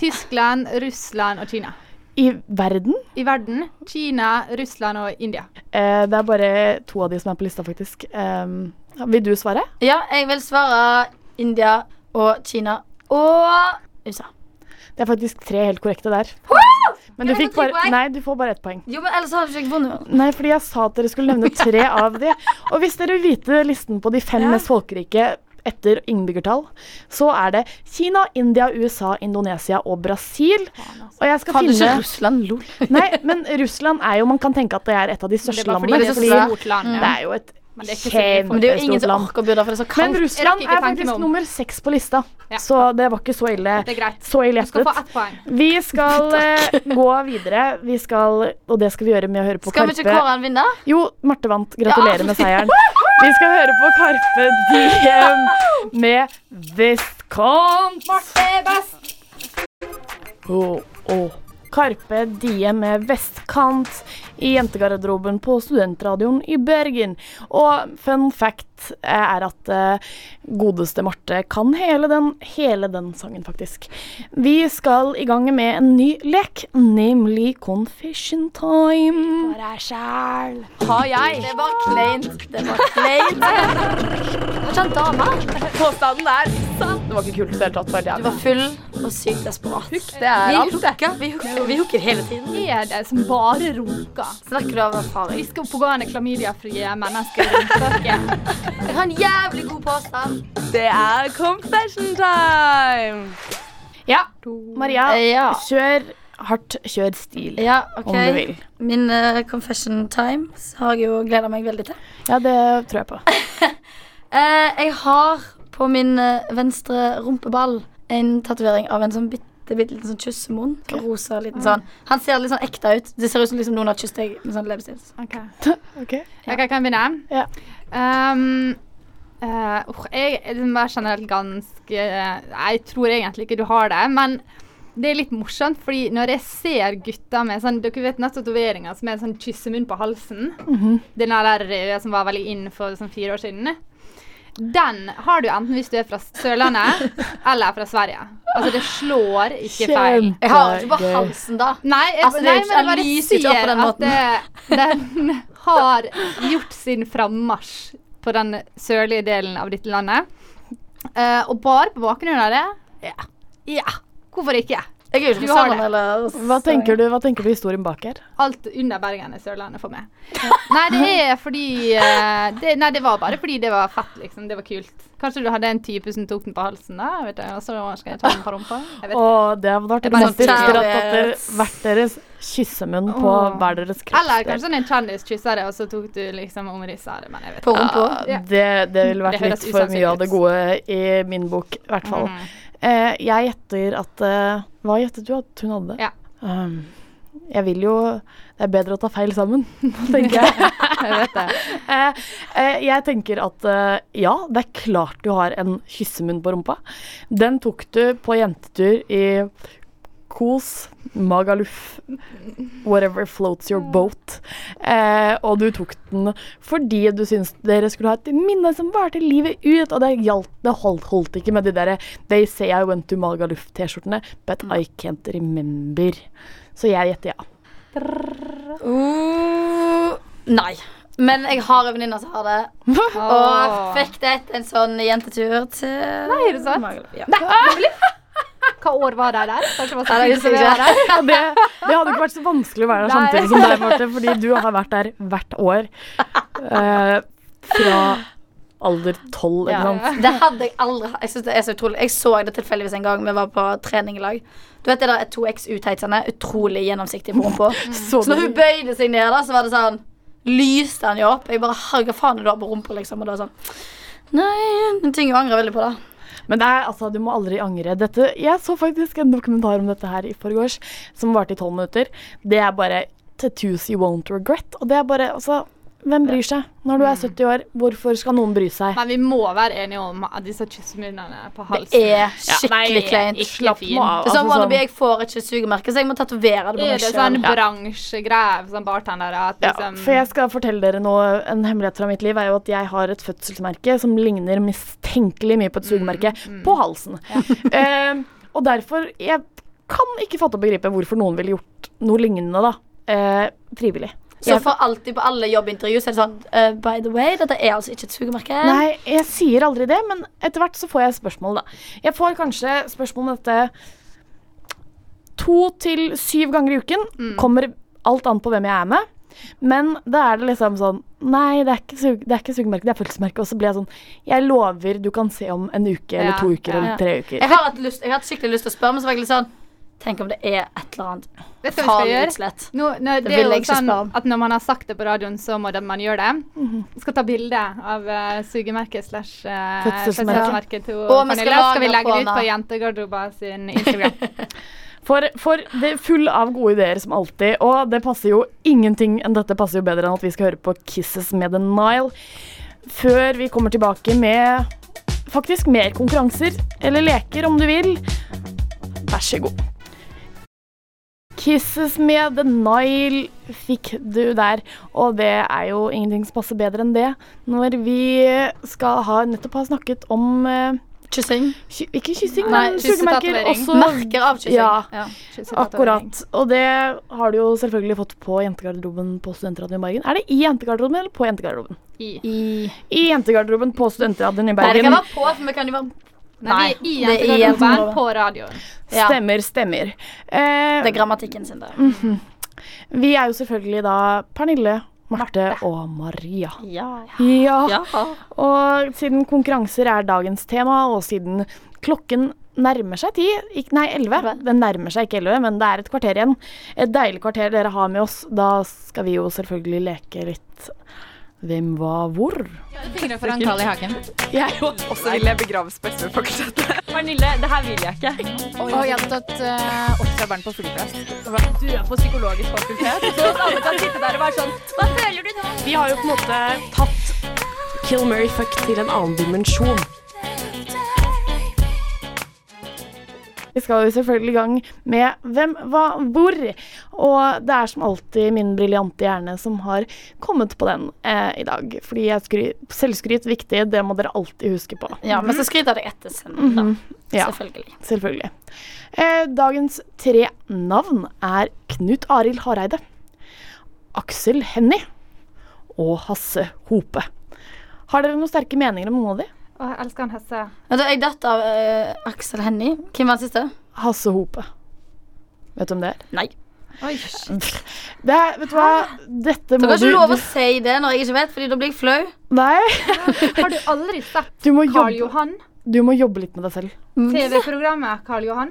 Speaker 3: Tyskland, Russland og Kina.
Speaker 8: I verden?
Speaker 3: I verden Kina, Russland og India.
Speaker 8: Eh, det er bare to av de som er på lista, faktisk. Ehm, vil du svare?
Speaker 5: Ja, jeg vil svare India og Kina og USA.
Speaker 8: Det er faktisk tre helt korrekte der. Men du
Speaker 5: Kan jeg
Speaker 8: fikk
Speaker 5: få tre
Speaker 8: bare
Speaker 5: poeng?
Speaker 8: Nei, du får bare ett poeng.
Speaker 5: Jo, men ellers hadde vi ikke vunnet.
Speaker 8: Nei, fordi jeg sa at dere skulle nevne tre av de. Og hvis dere vil vite listen på de fem mest folkerike etter innbyggertall, så er det Kina, India, USA, Indonesia og Brasil.
Speaker 3: altså.
Speaker 8: Og jeg skal
Speaker 5: Hadde ikke
Speaker 8: finne
Speaker 5: Russland lol?
Speaker 8: Nei, men Russland er jo Man kan tenke at det er et av de
Speaker 3: Det
Speaker 8: største
Speaker 3: var fordi
Speaker 8: landene.
Speaker 3: det er
Speaker 8: fordi
Speaker 3: så stort land.
Speaker 8: det er jo et
Speaker 3: Men det er ikke så mye
Speaker 5: Men
Speaker 3: folk.
Speaker 5: det er jo
Speaker 8: Stort
Speaker 5: ingen som
Speaker 8: land.
Speaker 5: orker å bo der, for det er så
Speaker 8: Men
Speaker 5: kaldt.
Speaker 3: rakk
Speaker 8: Russland
Speaker 3: ikke
Speaker 8: er
Speaker 3: tenke meg
Speaker 8: faktisk
Speaker 3: om.
Speaker 8: nummer seks på lista,
Speaker 3: Ja.
Speaker 8: så det var ikke så ille.
Speaker 3: Det er greit.
Speaker 8: Så ille
Speaker 3: Du skal få
Speaker 8: gjettet.
Speaker 3: ett poeng.
Speaker 8: Vi skal eh, gå videre, vi skal, og det skal vi gjøre med å høre på
Speaker 5: Skal vi ikke
Speaker 8: Karpe.
Speaker 5: kåre en vinner?
Speaker 8: Jo, Marte vant. Gratulerer med seieren. Vi skal høre på Karpe Diem med Viscont.
Speaker 3: Det er best.
Speaker 8: Oh, oh. Karpe Diem med Vestkant i jentegarderoben på Studentradioen i Bergen. Og fun fact eh, er at eh, godeste Marte kan hele den, hele den sangen, faktisk. Vi skal i gang med en ny lek, nemlig Confession Time.
Speaker 5: Har jeg. Det var kleint. Det var kleint. Var ikke han dame?
Speaker 1: Påstanden er sann.
Speaker 8: Det var ikke kult i det hele tatt. ferdig,
Speaker 5: Du var full og sykt desperat.
Speaker 1: Det er
Speaker 5: Vi
Speaker 1: alt.
Speaker 5: hooker, vi hooker, vi hooker hele tiden.
Speaker 3: Er det som bare runker?
Speaker 5: Snakker du av erfaring?
Speaker 3: Vi skal oppegående klamydiafrie mennesker i rundkøkken.
Speaker 5: Jeg har en jævlig god påstand.
Speaker 1: Det er confession time.
Speaker 8: Ja, Maria,
Speaker 5: Eh, ja.
Speaker 8: kjør hardt, kjør stil.
Speaker 5: Ja, ok.
Speaker 8: Om du vil.
Speaker 5: Min eh, confession time så har jeg jo gleda meg veldig til.
Speaker 8: Ja, det tror jeg på.
Speaker 5: Eh, jeg har på min eh, venstre rumpeball en tatovering av en sånn bitte, bitte liten sånn kyssemunn. Sånn Rosa liten sånn. Han ser litt sånn ekte ut. Det ser ut som liksom noen har kysset deg med sånn leppestift.
Speaker 3: Okay.
Speaker 8: Ok.
Speaker 3: Jeg kan begynne.
Speaker 8: Ja.
Speaker 3: Ehm, eh, uff, jeg er liksom bare generelt ganske eh, Jeg tror egentlig ikke du har det, men det er litt morsomt, fordi når jeg ser gutter med sånn Dere vet den tatoveringa som er sånn kyssemunn på halsen? Den der røde som var veldig inn for sånn fire år siden. Den har du enten hvis du er fra Sørlandet eller fra Sverige. Altså, det slår ikke feil.
Speaker 5: Jeg har ikke på
Speaker 8: Kjempegøy.
Speaker 5: halsen, da.
Speaker 3: Nei, jeg,
Speaker 5: Altså, det er
Speaker 3: nei
Speaker 5: jo ikke-
Speaker 3: men jeg
Speaker 5: den
Speaker 3: bare
Speaker 5: lyser ikke opp på
Speaker 3: sier
Speaker 5: den
Speaker 3: at det, den har gjort sin frammarsj på den sørlige delen av dette landet. Eh, og bare på bakgrunn av det Ja. ja. Hvorfor ikke?
Speaker 5: Jeg er jo ikke
Speaker 3: Du
Speaker 5: fra
Speaker 3: har
Speaker 5: Sørlandet
Speaker 3: det.
Speaker 5: eller
Speaker 8: Hva tenker du, hva tenker du historien bak her?
Speaker 3: Alt under Bergen er Sørlandet for meg. Nei, det er fordi eh, det, Nei, det var bare fordi det var fett, liksom. Det var kult. Kanskje du hadde en type som tok den på halsen, da? Vet jeg. Og så skal jeg ta den på rumpa? Jeg vet. ikke.
Speaker 8: Og det hadde vært
Speaker 3: Jeg bare
Speaker 8: romantisk
Speaker 5: sånn
Speaker 8: dere hadde tatt
Speaker 5: kjærlighet.
Speaker 8: dere- hvert deres kyssemunn på
Speaker 3: Åh.
Speaker 8: hver deres kropp.
Speaker 3: Eller kanskje sånn en kjendis kyssa det, og så tok du liksom omrisset av det. Men jeg vet
Speaker 5: På rumpa.
Speaker 3: Ja.
Speaker 8: Det, det ville
Speaker 3: Det
Speaker 8: vært
Speaker 3: høres
Speaker 8: litt for
Speaker 3: usannsynlig
Speaker 8: mye av det
Speaker 3: ut.
Speaker 8: gode i min bok, i hvert fall.
Speaker 3: Mhm.
Speaker 8: Eh, jeg gjetter at eh, Hva gjettet du at hun hadde?
Speaker 3: Ja.
Speaker 8: Um, jeg vil jo Det er bedre å ta feil sammen, tenker jeg.
Speaker 3: Jeg vet det.
Speaker 8: Eh, eh, jeg tenker at eh, ja, det er klart du har en kyssemunn på rumpa. Den tok du på jentetur i Kos, Magaluf, whatever floats your boat. Eh, og du tok den fordi du syntes dere skulle ha et minne som varte livet ut. Og det, gjaldt, det holdt, holdt ikke med de derre They say I went to Magaluf-T-skjortene, but I can't remember. Så jeg gjetter ja.
Speaker 5: Uh, nei. Men jeg har en venninne som har det. Og
Speaker 3: Åh.
Speaker 5: fikk det etter en sånn jentetur til Nei,
Speaker 3: er det sant?
Speaker 5: Ja.
Speaker 3: Hva år var det der? Kanskje det var så
Speaker 5: Nei, det husker
Speaker 3: fint
Speaker 5: jeg
Speaker 3: å være der?
Speaker 8: Ja, det, det hadde ikke vært så vanskelig å være der
Speaker 3: Nei.
Speaker 8: samtidig som deg, Marte, fordi du har vært der hvert år. Eh, fra alder tolv eller noe sånt.
Speaker 5: Det hadde jeg aldri Jeg synes det er så utrolig Jeg så det tilfeldigvis en gang vi var på trening i lag. Du vet det der 2X-utheitsene? Utrolig gjennomsiktig på rumpa.
Speaker 8: Så
Speaker 5: Så når hun bøyde seg ned, da, så var det sånn Lyste han jo opp. Jeg bare Herregud, hva faen er det du har på rumpa? Liksom. Og det var sånn Nei En ting jeg angrer veldig på, da.
Speaker 8: Men det er, altså, du må aldri angre. Dette, jeg så faktisk en dokumentar om dette her i forgårs, som varte i tolv minutter. Det er bare tattoos you won't regret. Og det er bare, altså, hvem bryr seg? Når du er 70 år, hvorfor skal noen bry seg?
Speaker 3: Men vi må være enige om at disse kyssemunnene på halsen
Speaker 5: Det er skikkelig kleint. Det
Speaker 8: Slapp nå av.
Speaker 5: er sånn
Speaker 8: altså,
Speaker 5: Wannabe, jeg får ikke sugemerke, så jeg må tatovere det på
Speaker 3: Er
Speaker 5: meg
Speaker 3: det
Speaker 5: sjøl.
Speaker 3: sånn bransjegreie for sånn bartendere at
Speaker 8: Ja,
Speaker 3: liksom
Speaker 8: for jeg skal fortelle dere noe. En hemmelighet fra mitt liv er jo at jeg har et fødselsmerke som ligner mistenkelig mye på
Speaker 3: Mm,
Speaker 8: et sugemerke på halsen. Eh, og derfor Jeg kan ikke fatte og begripe hvorfor noen ville gjort noe lignende, da. Eh, frivillig.
Speaker 5: Så for alltid på alle jobbintervju så er det sånn eh, By the way, dette er altså ikke et sugemerke.
Speaker 8: Nei, jeg sier aldri det, men etter hvert så får jeg spørsmål, da. Jeg får kanskje spørsmål om dette to til syv ganger i uken.
Speaker 3: Mm.
Speaker 8: Kommer alt an på hvem jeg er med. Men da er det liksom sånn Nei, det er ikke, sug det er ikke sugemerke, det er følelsesmerke. Og så blir jeg sånn Jeg lover du kan se om en uke eller
Speaker 3: Ja,
Speaker 8: to uker
Speaker 3: ja.
Speaker 8: eller tre uker.
Speaker 5: Jeg har hatt, lyst, jeg har hatt skikkelig lyst til å spørre, men så var jeg litt sånn Tenk om det er et eller annet
Speaker 3: Vet du hva vi skal
Speaker 5: farlig
Speaker 3: gjøre?
Speaker 5: utslett.
Speaker 3: Nå, nå, det,
Speaker 5: vil
Speaker 3: er
Speaker 5: jeg
Speaker 3: jo
Speaker 5: ikke
Speaker 3: sånn
Speaker 5: spørre om.
Speaker 3: at når man har sagt det på radioen, så må det, man gjøre det. Vi skal ta bilde av eh, sugemerket slash eh,
Speaker 8: Fødselsmerket.
Speaker 3: fødselsmerket til
Speaker 5: Og vi skal
Speaker 3: Pernille. skal vi
Speaker 5: lage
Speaker 3: legge det
Speaker 5: på
Speaker 3: ut på
Speaker 5: henne.
Speaker 3: Jentegarderoba sin Instagram.
Speaker 8: For, for det er full av gode ideer som alltid, og det passer jo ingenting enn dette passer jo bedre enn at vi skal høre på Kisses med The Nile. Før vi kommer tilbake med faktisk mer konkurranser, eller leker om du vil. Vær så god. Kisses med The Nile fikk du der, og det er jo ingenting som passer bedre enn det når vi skal ha nettopp har snakket om eh,
Speaker 5: Kyssing.
Speaker 8: ky Ikke kyssing,
Speaker 3: Nei,
Speaker 8: men sugemerker.
Speaker 3: kyssetatovering.
Speaker 8: Også
Speaker 5: Merker av kyssing.
Speaker 8: Ja.
Speaker 5: Ja.
Speaker 8: Akkurat. Og det har du jo selvfølgelig fått på jentegarderoben på Studentradioen i Bergen. Er det i jentegarderoben eller på jentegarderoben?
Speaker 3: I.
Speaker 5: I
Speaker 8: I jentegarderoben på Studentradioen i
Speaker 5: Nei, det kan
Speaker 8: Bergen.
Speaker 5: være på, for vi kan jo være
Speaker 3: Nei, vi er
Speaker 5: det er i
Speaker 3: i Jentegarderoben
Speaker 5: Jentegarderoben.
Speaker 3: på radioen.
Speaker 5: Ja.
Speaker 8: Stemmer, stemmer. Eh,
Speaker 5: Det er grammatikken sin, det.
Speaker 8: Mm. vi er jo selvfølgelig da Pernille, Marte og Maria.
Speaker 6: Ja.
Speaker 8: Ja.
Speaker 6: ja.
Speaker 8: Og siden konkurranser er dagens tema, og siden klokken nærmer seg ti ikk- Nei, elleve. Den nærmer seg ikke elleve, men det er et kvarter igjen. Et deilig kvarter dere har med oss. Da skal vi jo selvfølgelig leke litt Hvem, hva, hvor?
Speaker 1: Fingre foran Carl i haken.
Speaker 4: Også vil jeg begraves på SV-fakultetet.
Speaker 6: Pernille, det her vil jeg ikke.
Speaker 1: Og jeg har tatt eh, åtte barn på flyplass.
Speaker 6: Du er på psykologisk fakultet. Så alle kan sitte der og være sånn Hva føler du nå?
Speaker 7: Vi har jo på en måte tatt Kill Mary Fuck til en annen dimensjon.
Speaker 8: Vi skal jo selvfølgelig i gang med Hvem, hva, hvor? Og det er som alltid min briljante hjerne som har kommet på den eh, i dag. Fordi jeg skry selvskryt viktig, det må dere alltid huske på.
Speaker 5: Ja, men så skryter det etter sending, da.
Speaker 8: Mhm. Ja.
Speaker 5: Selvfølgelig.
Speaker 8: Selvfølgelig. Eh, dagens tre navn er Knut Arild Hareide, Aksel Hennie og Hasse Hope. Har dere noen sterke meninger om noen av de?
Speaker 3: Å, jeg elsker han Hesse.
Speaker 5: Men da, jeg datt av eh, Aksel Hennie. Hvem var den siste?
Speaker 8: Hasse Hope. Vet du om det er?
Speaker 5: Nei.
Speaker 3: Oi,
Speaker 8: Det er vet du hva? Dette
Speaker 5: Du
Speaker 8: må
Speaker 5: kan
Speaker 8: du,
Speaker 5: ikke lov å
Speaker 8: du
Speaker 5: si det når jeg ikke vet, Fordi da blir jeg flau.
Speaker 8: Nei.
Speaker 3: har du aldri sett
Speaker 8: Du må,
Speaker 3: Karl
Speaker 8: jobbe,
Speaker 3: Johan?
Speaker 8: du må jobbe litt med deg selv.
Speaker 1: Mm.
Speaker 8: Mm.
Speaker 3: TV-programmet Karl Johan?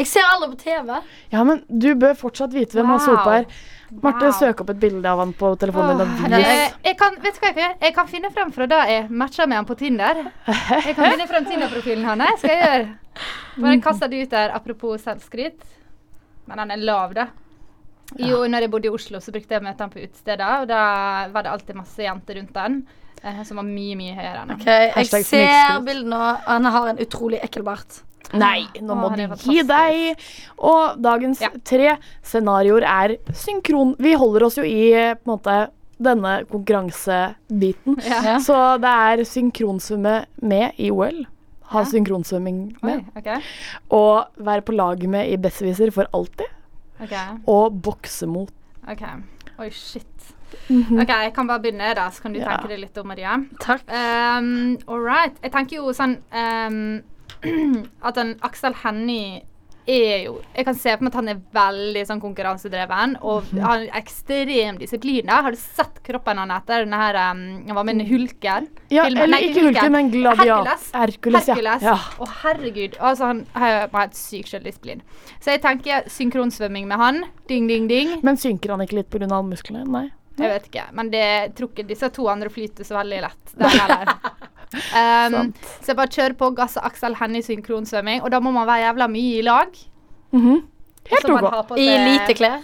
Speaker 5: Jeg ser aldri på TV.
Speaker 8: Ja, men du bør fortsatt vite hvem Hasse
Speaker 3: Wow.
Speaker 8: Hope er. Marte,
Speaker 3: Wow.
Speaker 8: søk opp et bilde av han på telefonen
Speaker 3: Åh,
Speaker 8: din.
Speaker 5: det
Speaker 8: Yes.
Speaker 5: er-
Speaker 3: Eh, jeg, jeg kan, vet du hva jeg kan gjøre? Jeg kan finne frem fra da jeg matcha med han på Tinder. Jeg kan finne frem Tinder-profilen hans. skal jeg gjøre. Bare kaste det ut der, apropos selvskryt. Men han er lav, da. Jo, når jeg bodde i Oslo, så brukte jeg å møte han på utesteder, og da var det alltid masse jenter rundt han eh, som var mye, mye høyere enn han.
Speaker 5: Ok, Jeg
Speaker 8: Hashtag
Speaker 5: ser
Speaker 8: snikskryt.
Speaker 5: bildet nå. Han har en utrolig ekkel bart.
Speaker 8: Nei, nå må
Speaker 3: Åh,
Speaker 8: du
Speaker 3: det var
Speaker 8: gi deg. Og dagens
Speaker 3: Ja.
Speaker 8: tre scenarioer er synkron. Vi holder oss jo i eh, på en måte, denne konkurransebiten.
Speaker 5: Ja.
Speaker 8: Så det er synkronsvømme med i OL. Ha synkronsvømming
Speaker 3: Oi,
Speaker 8: med.
Speaker 3: ok.
Speaker 8: Og være på lag med i Besserwisser for alltid.
Speaker 3: ok,
Speaker 8: Og bokse mot.
Speaker 3: ok. Oi, shit. OK, jeg kan bare begynne, da, så kan du
Speaker 8: Mhm. Ja.
Speaker 3: tenke deg litt om, Maria.
Speaker 5: Takk.
Speaker 3: Um, All right. Jeg tenker jo sånn um, At han Aksel Hennie er jo Jeg kan se på meg at han er veldig sånn konkurransedreven og
Speaker 8: Mhm.
Speaker 3: har ekstrem disiplin. da. Har du sett kroppen han etter denne her um, Han var med en hulker.
Speaker 8: Ja,
Speaker 3: Filmen-
Speaker 8: eller
Speaker 3: nei,
Speaker 8: ikke Hulken, men Gladiat.
Speaker 3: Hercules.
Speaker 8: Hercules, ja.
Speaker 3: Hercules.
Speaker 8: ja.
Speaker 3: Å, herregud. Altså, han har jo helt sykt selvdisiplin. Så jeg tenker synkronsvømming med han. Ding, ding, ding.
Speaker 8: Men synker han ikke litt pga. musklene? Nei.
Speaker 3: Jeg vet ikke. Men det tror ikke disse to andre flyter så veldig lett. Der, heller. Um, så jeg bare kjører på gass og Aksel Hennie synkronsvømming, og da må man være jævla mye i lag.
Speaker 8: Mhm. Helt
Speaker 3: Så man
Speaker 8: OK.
Speaker 3: har på
Speaker 5: I
Speaker 3: seg-
Speaker 5: lite klær.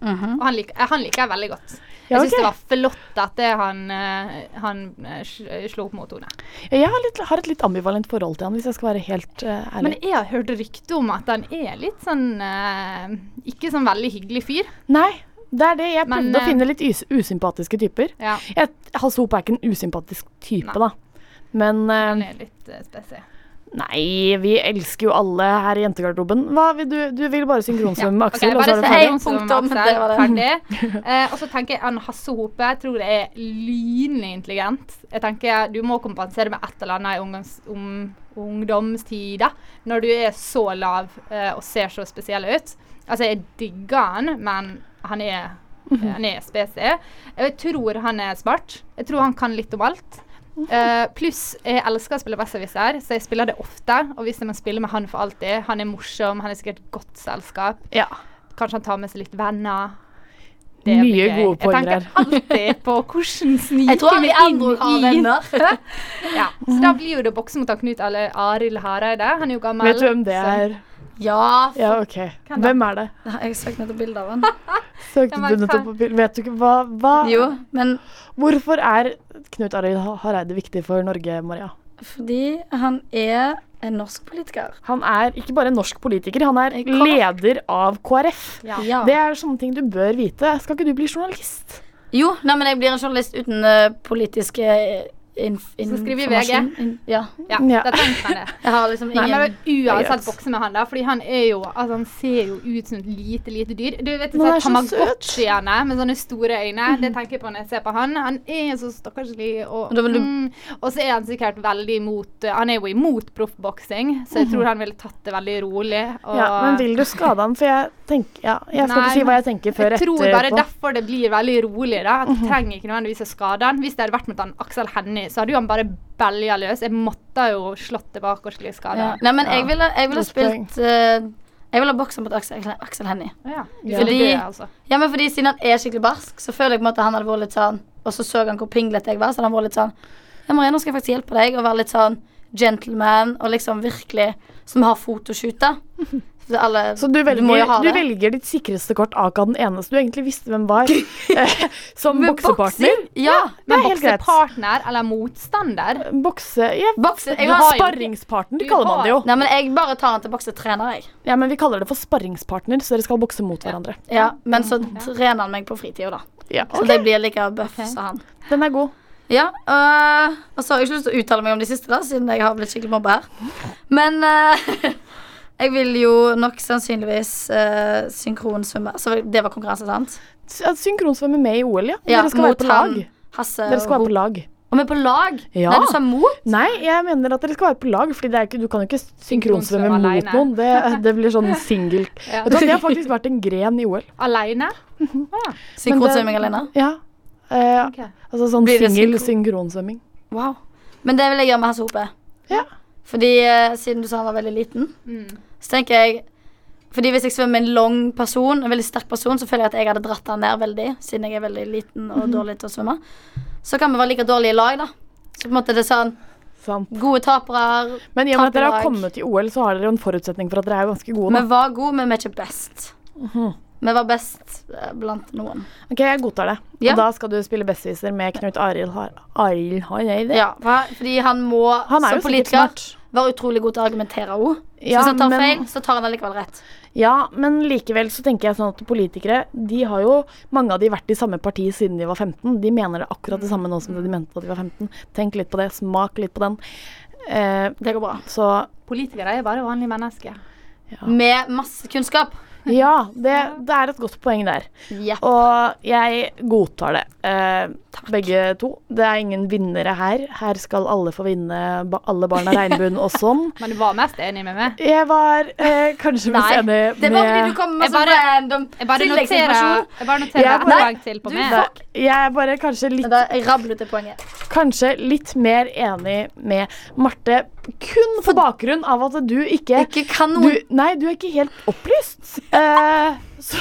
Speaker 3: Og han, liker, eh, han liker jeg veldig godt. Jeg
Speaker 8: Ja,
Speaker 3: syns
Speaker 8: ok.
Speaker 3: det var flott at det han, eh, han eh, sl- slo opp mot Tone.
Speaker 8: Jeg har, litt, har et litt ambivalent forhold til han, hvis jeg skal være helt eh, ærlig.
Speaker 3: Men jeg har hørt rykte om at han er litt sånn eh, Ikke sånn veldig hyggelig fyr.
Speaker 8: Nei, det er det. Jeg
Speaker 3: Men,
Speaker 8: prøvde å
Speaker 3: eh,
Speaker 8: finne litt us usympatiske typer.
Speaker 3: Ja,
Speaker 8: Jeg, Hasse Hope er ikke en usympatisk type,
Speaker 3: Nei.
Speaker 8: da. Men
Speaker 3: han
Speaker 8: eh,
Speaker 3: er litt eh, spesiell.
Speaker 8: nei, vi elsker jo alle her i jentegarderoben. Hva vil du? Du vil bare synkronsvømme med
Speaker 3: Ok,
Speaker 8: Aksel, og
Speaker 3: bare
Speaker 8: så er du
Speaker 5: se-
Speaker 8: ferdig?
Speaker 5: Nei, punktum,
Speaker 3: Aksel,
Speaker 5: det var det.
Speaker 3: Ferdig. Eh, og så tenker jeg Ann Hasse Hope jeg tror det er lynende intelligent. Jeg tenker Du må kompensere med et eller annet i ungdoms, um, ungdomstida når du er så lav eh, og ser så spesiell ut. Altså, jeg digger han, men han er, han er spesiell. Jeg tror han er smart. Jeg tror han kan litt om alt. Eh, pluss jeg elsker å spille besserwisser, så jeg spiller det ofte. Og hvis man spiller med han for alltid Han er morsom, han er sikkert et godt selskap.
Speaker 8: Ja.
Speaker 3: Kanskje han tar med seg litt venner.
Speaker 8: Mye gode
Speaker 3: Jeg
Speaker 8: poeng
Speaker 3: tenker
Speaker 8: der.
Speaker 3: alltid på hvordan
Speaker 5: Jeg tror
Speaker 3: sniker vi
Speaker 5: alle andre har
Speaker 3: inn i
Speaker 5: venner.
Speaker 3: ja. Så da blir jo det boksen mot han Knut eller Arild Hareide. Han er jo gammel.
Speaker 8: Vet du hvem det er?
Speaker 5: Ja.
Speaker 8: Ja, OK. Hvem er det?
Speaker 5: Nei, Jeg søkte nettopp bilde av han.
Speaker 8: Søkte
Speaker 3: Hvem er
Speaker 8: du nettopp på bil? Vet du ikke hva, hva?
Speaker 5: Jo, men
Speaker 8: Hvorfor er Knut Arild Ha- Hareide viktig for Norge, Maria?
Speaker 5: fordi han er en norsk politiker.
Speaker 8: Han er ikke bare norsk politiker, han er
Speaker 5: Eh, K-
Speaker 8: leder av KrF.
Speaker 5: Ja.
Speaker 8: Det er sånne ting du bør vite. Skal ikke du bli journalist?
Speaker 5: Jo, nei, men jeg blir en journalist uten eh, politisk eh, inf
Speaker 3: Så skriver vi
Speaker 5: informasjon. In ja.
Speaker 3: Ja,
Speaker 8: Ja.
Speaker 3: da trengte han det.
Speaker 5: Jeg har liksom
Speaker 3: Nei,
Speaker 5: ingen
Speaker 3: men uansett
Speaker 8: Yes.
Speaker 3: bokse med han, da. Fordi han er jo Altså, han ser jo ut som et lite, lite dyr. Du vet
Speaker 8: Men han er
Speaker 3: sånn
Speaker 8: så Mhm.
Speaker 3: Tamagotchiene med sånne store øyne. Det tenker jeg på når jeg ser på han. Han er så stakkarslig og
Speaker 5: Og da vil du-
Speaker 3: mm, Og så er han sikkert veldig imot Han er jo imot proffboksing, så jeg tror han ville tatt det veldig rolig. Og
Speaker 8: Mhm. Ja, men vil du skade ham? For jeg tenker ja, Jeg skal
Speaker 3: Nei,
Speaker 8: ikke si hva jeg tenker før Mhm.
Speaker 3: jeg tror bare
Speaker 8: etterpå.
Speaker 3: derfor det blir veldig rolig. da At Jeg trenger ikke nødvendigvis å skade han. Hvis det hadde vært mot han Aksel Hennie, så hadde jo han bare belja løs. Jeg måtte jo slått tilbake og skulle skade
Speaker 5: ja.
Speaker 3: han.
Speaker 5: Nei, men jeg ville, jeg ville
Speaker 8: Godt poeng.
Speaker 5: spilt eh, Jeg ville boksa mot Aksel, Aksel Hennie.
Speaker 3: Ja.
Speaker 8: Ja.
Speaker 3: Fordi,
Speaker 5: Fordi-
Speaker 3: dø, altså.
Speaker 5: Ja, men fordi siden han er skikkelig barsk, så føler jeg på en måte han hadde vært litt sånn Og så så han hvor pinglete jeg var, så hadde han vært litt sånn Ja, Maria, nå skal jeg faktisk hjelpe deg å være litt sånn gentleman og liksom virkelig Som har fotoshoot, da. Så alle
Speaker 8: Så du velger,
Speaker 5: må jo ha
Speaker 8: du
Speaker 5: det.
Speaker 8: velger ditt sikreste kort, Aka den eneste du egentlig visste hvem var, eh, som
Speaker 5: Med
Speaker 8: boksepartner.
Speaker 5: boksing? Ja.
Speaker 8: Det
Speaker 3: Men
Speaker 8: er helt greit.
Speaker 3: boksepartner eller motstander?
Speaker 8: Bokse... Ja,
Speaker 5: Bokse, jeg
Speaker 8: du
Speaker 5: har-
Speaker 8: sparringspartner
Speaker 3: Du
Speaker 8: kaller man det jo.
Speaker 5: Nei, men jeg bare tar han til boksetrener, jeg.
Speaker 8: Ja, men vi kaller det for sparringspartner, så dere skal bokse mot hverandre.
Speaker 5: Ja, men så trener han meg på fritida, da.
Speaker 8: Ja,
Speaker 5: Så det blir like buff som han.
Speaker 8: Den er god.
Speaker 5: Ja, øh, og så har jeg ikke lyst til å uttale meg om de siste, da, siden jeg har blitt skikkelig mobba her. Men øh, jeg vil jo nok sannsynligvis øh, synkronsvømme. Så det var konkurranse, sant?
Speaker 8: S- at Synkronsvømme med i OL, ja.
Speaker 5: Ja,
Speaker 8: dere skal være
Speaker 5: mot
Speaker 8: på lag.
Speaker 5: han, Hasse
Speaker 8: Dere skal
Speaker 5: og
Speaker 8: være på
Speaker 5: Ho.
Speaker 8: lag.
Speaker 5: Og vi er på lag?
Speaker 8: Ja.
Speaker 5: Nei, du sa mot?
Speaker 8: Nei, jeg mener at dere skal være på lag, Fordi det er ikke, du kan jo ikke synkronsvømme
Speaker 3: Synkronsvømme
Speaker 8: mot
Speaker 3: alene.
Speaker 8: noen. Det, det blir sånn singel.
Speaker 3: Ja.
Speaker 8: Vet du hva, Det har faktisk vært en gren i OL.
Speaker 3: Aleine?
Speaker 5: Synkronsvømming alene?
Speaker 8: Ja. Eh,
Speaker 3: Ok.
Speaker 8: Altså sånn
Speaker 5: Blir det
Speaker 8: singel
Speaker 5: synkro-
Speaker 8: synkronsvømming.
Speaker 5: Wow. Men det vil jeg gjøre med Hasse Hope.
Speaker 8: Ja.
Speaker 5: Fordi øh, siden du sa han var veldig liten, så tenker jeg fordi Hvis jeg svømmer med en lang person, en veldig sterk person, så føler jeg at jeg hadde dratt han ned veldig, siden jeg er veldig liten og
Speaker 8: Mhm.
Speaker 5: dårlig til å svømme. Så kan vi være like dårlige i lag, da. Så på en måte er det sånn
Speaker 8: Sant.
Speaker 5: Gode tapere.
Speaker 8: Men i og med at dere har
Speaker 5: Tapelag.
Speaker 8: kommet i OL, så har dere jo en forutsetning for at dere er ganske gode.
Speaker 5: Vi
Speaker 8: Da.
Speaker 5: var gode, men vi er ikke best.
Speaker 8: Mhm.
Speaker 5: Vi var best eh, blant noen.
Speaker 8: Ok, Jeg godtar det.
Speaker 5: Ja.
Speaker 8: Og da skal du spille bestviser med Knut Arild Har... Arild Har jeg det?
Speaker 5: Ja, for- fordi han må,
Speaker 8: Han er
Speaker 5: som
Speaker 8: jo sikkert
Speaker 5: politiker,
Speaker 8: smart.
Speaker 5: være utrolig god til å argumentere òg. Så
Speaker 8: Ja,
Speaker 5: hvis han tar
Speaker 8: men-
Speaker 5: feil, så tar han allikevel rett.
Speaker 8: Ja, men likevel så tenker jeg sånn at politikere, de har jo mange av de vært i samme parti siden de var 15. De mener det akkurat det samme nå som det de mente da de var 15. Tenk litt på det, smak litt på den. Eh,
Speaker 5: Det går bra.
Speaker 8: så
Speaker 3: Politikere er bare vanlige mennesker.
Speaker 5: Med masse kunnskap.
Speaker 8: ja, det, det er et godt poeng der.
Speaker 5: Jepp.
Speaker 8: Og jeg godtar det. Eh, begge to. Det er ingen vinnere her. Her skal alle få vinne, ba- alle barna regnbuen og sånn.
Speaker 3: Men du var mest enig med meg.
Speaker 8: Jeg var eh, kanskje mest enig med
Speaker 5: det er bare fordi du kommer med
Speaker 3: Jeg
Speaker 5: sånn
Speaker 3: bare-
Speaker 5: random
Speaker 3: Jeg bare noterer,
Speaker 5: tilleggsinformasjon.
Speaker 3: jeg bare noterer
Speaker 8: Jeg
Speaker 3: et
Speaker 8: bare-
Speaker 3: poeng til på meg.
Speaker 8: Nei, Jeg er bare kanskje litt
Speaker 5: Men Da jeg rablet det poenget.
Speaker 8: kanskje litt mer enig med Marte, kun på bakgrunn av at du ikke
Speaker 5: Ikke kan
Speaker 8: du,
Speaker 5: noe
Speaker 8: Nei, du er ikke helt opplyst. Eh, så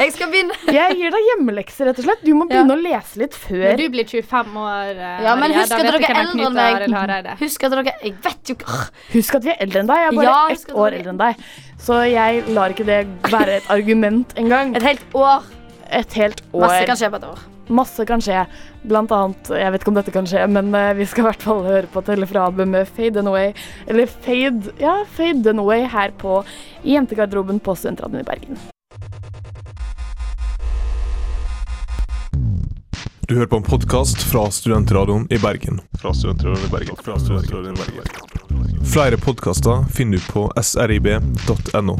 Speaker 5: Jeg skal begynne.
Speaker 8: jeg gir deg hjemmelekser, rett og slett. Du må
Speaker 5: Ja.
Speaker 8: begynne å lese litt
Speaker 3: Når
Speaker 8: før.
Speaker 3: du blir 25 år, eh,
Speaker 5: Ja, men
Speaker 3: Maria,
Speaker 5: husk
Speaker 3: da
Speaker 5: at
Speaker 3: vet
Speaker 5: dere
Speaker 3: du
Speaker 5: er
Speaker 3: hvem
Speaker 5: eldre enn
Speaker 3: Knut
Speaker 5: meg.
Speaker 3: Arild Hareide
Speaker 5: Husk at dere Jeg vet jo ikke
Speaker 8: Husk at vi er eldre enn deg. Jeg er bare
Speaker 5: Ja, husk
Speaker 8: ett
Speaker 5: at
Speaker 8: år
Speaker 5: dere-
Speaker 8: eldre enn deg. Så jeg lar ikke det være et argument engang.
Speaker 5: Et helt år.
Speaker 8: Et helt år.
Speaker 5: Masse kan skje på et år.
Speaker 8: Masse kan skje. Blant annet, jeg vet ikke om dette kan skje, men eh, vi skal i hvert fall høre på Telefrabe med Fade and Away, eller Fade, ja, Fade and Away her på Jentegarderoben på Studentradioen i Bergen.
Speaker 10: Du hører på en podkast fra Studentradioen i Bergen. Fra Studentradioen i Bergen. Flere podkaster finner du på srib.no.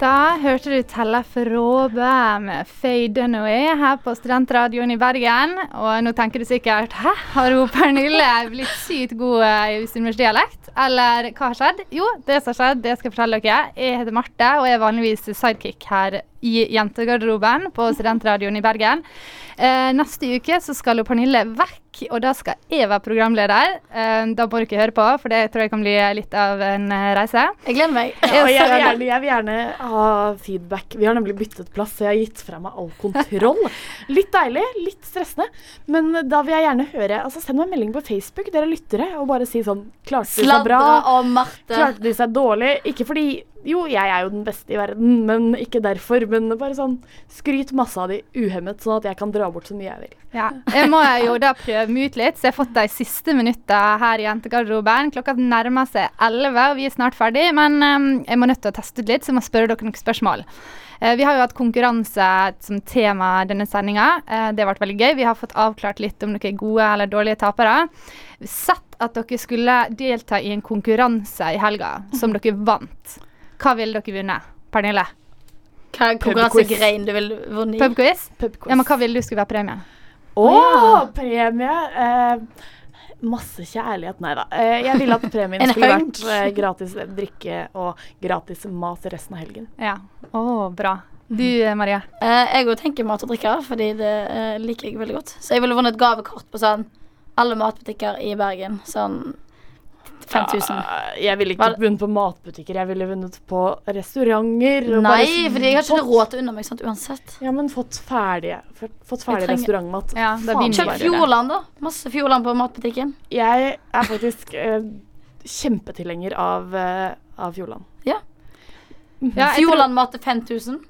Speaker 3: Da hørte du Tella Fråbe med Faye Dunaway her på Studentradioen i Bergen. Og nå tenker du sikkert hæ, har hun Pernille blitt sykt god eh, i sunnmørsdialekt? Eller hva har skjedd? Jo, det som har skjedd, det skal jeg fortelle dere. Jeg heter Marte og er vanligvis sidekick her i jentegarderoben på Studentradioen i Bergen. Eh, neste uke så skal jo Pernille vekk takk. Og da skal jeg være programleder. Eh, Da må dere høre på, for det tror jeg kan bli litt av en eh, reise.
Speaker 5: Jeg gleder meg.
Speaker 8: Ja, og jeg, vil gjerne, jeg vil gjerne ha feedback. Vi har nemlig byttet plass, så jeg har gitt fra meg all kontroll. Litt deilig, litt stressende. Men da vil jeg gjerne høre altså Send meg en melding på Facebook, dere lyttere, og bare si sånn Klarte du seg bra?
Speaker 5: Sladre om Marte.
Speaker 8: Klarte du seg dårlig? Ikke fordi Jo, jeg er jo den beste i verden, men ikke derfor. Men bare sånn Skryt masse av de uhemmet, sånn at jeg kan dra bort så mye jeg vil.
Speaker 3: Ja. Jeg må jo da prøve meg ut litt, så jeg har fått de siste minuttene her i jentegarderoben. Klokka nærmer seg 11, og vi er snart ferdig, men eh, jeg må nødt til å teste ut litt, så jeg må spørre dere noen spørsmål. Eh, Vi har jo hatt konkurranse som tema denne sendinga. Det ble veldig gøy. Vi har fått avklart litt om dere er gode eller dårlige tapere. Sett at dere skulle delta i en konkurranse i helga som dere vant. Hva ville dere vunnet, Pernille?
Speaker 5: Hva konkurransegrein du vil vunnet i?
Speaker 3: Pubquiz? Ja, men hva ville du skulle være premien?
Speaker 8: Å, premie! Eh, masse kjærlighet. Nei da. Eh, jeg ville at premien
Speaker 3: En
Speaker 8: skulle
Speaker 3: hunk.
Speaker 8: vært eh, gratis drikke og gratis mat resten av helgen.
Speaker 3: Ja. Å, bra. Du, eh, Maria?
Speaker 5: Eh, jeg òg tenker mat og drikke, fordi det eh, liker jeg veldig godt. Så jeg ville vunnet gavekort på sånn alle matbutikker i Bergen. Sånn 5000.
Speaker 8: Ja, jeg ville ikke vunnet på matbutikker, jeg ville vunnet på restauranter. og bare
Speaker 5: Nei, fordi jeg har ikke
Speaker 8: fått-
Speaker 5: råd til å unne meg sånt uansett.
Speaker 8: Ja, men fått ferdige f- Fått
Speaker 5: Jeg
Speaker 8: ferdig
Speaker 5: trenger-
Speaker 8: restaurantmat.
Speaker 3: Ja, da
Speaker 8: Faen,
Speaker 3: begynner
Speaker 8: så
Speaker 5: Kjøp
Speaker 8: bare-
Speaker 5: Fjordland, da. Masse Fjordland på matbutikken.
Speaker 8: Jeg er faktisk eh, kjempetilhenger av, eh, av Fjordland.
Speaker 3: Ja, jeg tror-
Speaker 5: Fjordland-mat til 5000.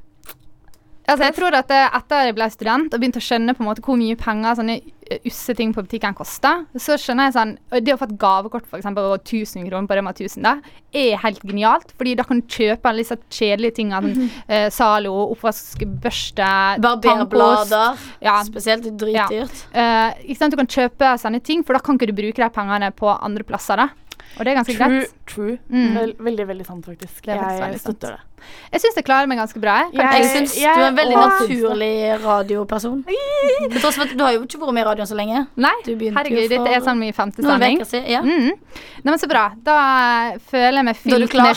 Speaker 3: Altså, jeg tror at eh, etter jeg ble student og begynte å skjønne på en måte hvor mye penger sånne eh, usse ting på butikken koster, så skjønner jeg sånn og Det å få et gavekort for eksempel, på 1000 kroner på Rema 1000 da, er helt genialt. fordi da kan du kjøpe alle disse kjedelige tingene.
Speaker 5: Mhm.
Speaker 3: eh, Zalo, oppvaskbørste,
Speaker 5: Barberblader.
Speaker 3: tannkost. Ja.
Speaker 5: Spesielt dritdyrt.
Speaker 3: Eh, ikke sant? Du kan kjøpe sånne ting, for da kan ikke du bruke de pengene på andre plasser. da. Og det er ganske
Speaker 8: True.
Speaker 3: greit.
Speaker 8: true.
Speaker 3: Mm.
Speaker 8: Vel, veldig, veldig sant, faktisk.
Speaker 3: Det er faktisk
Speaker 8: jeg
Speaker 3: veldig sant.
Speaker 8: støtter det.
Speaker 3: Jeg syns jeg klarer meg ganske bra. jeg.
Speaker 8: Jeg-
Speaker 5: Jeg syns du
Speaker 8: jeg
Speaker 5: er en veldig
Speaker 8: også syns det.
Speaker 5: naturlig radioperson. Til tross for at du har jo ikke vært med i radioen så lenge.
Speaker 3: Nei,
Speaker 5: Du begynte
Speaker 3: herregud,
Speaker 5: jo for
Speaker 3: dette er sånn min femte
Speaker 5: noen
Speaker 3: sending.
Speaker 5: uker siden. Ja.
Speaker 3: Mm. Nei, men Så bra. Da føler jeg meg
Speaker 5: Da er du
Speaker 3: fylt
Speaker 5: klar.
Speaker 3: med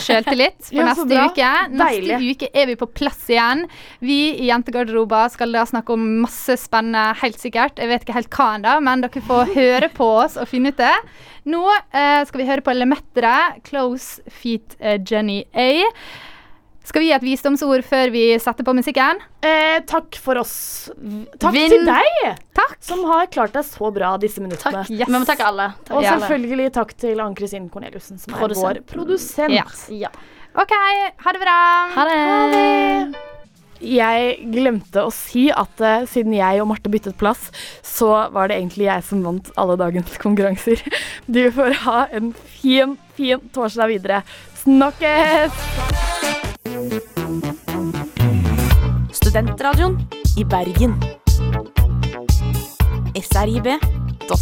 Speaker 3: selvtillit for
Speaker 8: Ja, så
Speaker 3: neste
Speaker 8: bra.
Speaker 3: uke. Neste
Speaker 8: Deilig.
Speaker 3: uke er vi på plass igjen. Vi i Jentegarderoba skal da snakke om masse spennende, helt sikkert. Jeg vet ikke helt hva ennå, men dere får høre på oss og finne ut det. Nå eh, skal vi høre på Lemettere, Close Feet eh, Jenny A. Skal vi gi et visdomsord før vi setter på musikken?
Speaker 8: Eh, takk for oss. Takk
Speaker 5: Vinn.
Speaker 8: til deg
Speaker 3: Takk.
Speaker 8: som har klart deg så bra disse minuttene.
Speaker 5: Takk. Vi må takke alle. Takk.
Speaker 8: Og
Speaker 5: alle.
Speaker 8: selvfølgelig takk til Ann-Kristin Corneliussen, som er
Speaker 5: Produsent.
Speaker 8: vår produsent.
Speaker 3: Ja.
Speaker 5: Ja.
Speaker 3: OK, ha det bra.
Speaker 5: Ha det.
Speaker 8: Jeg glemte å si at eh, siden jeg og Marte byttet plass, så var det egentlig jeg som vant alle dagens konkurranser. Du får ha en fin, fin torsdag videre. Snakkes!
Speaker 7: Studentradioen i Bergen. srib.no.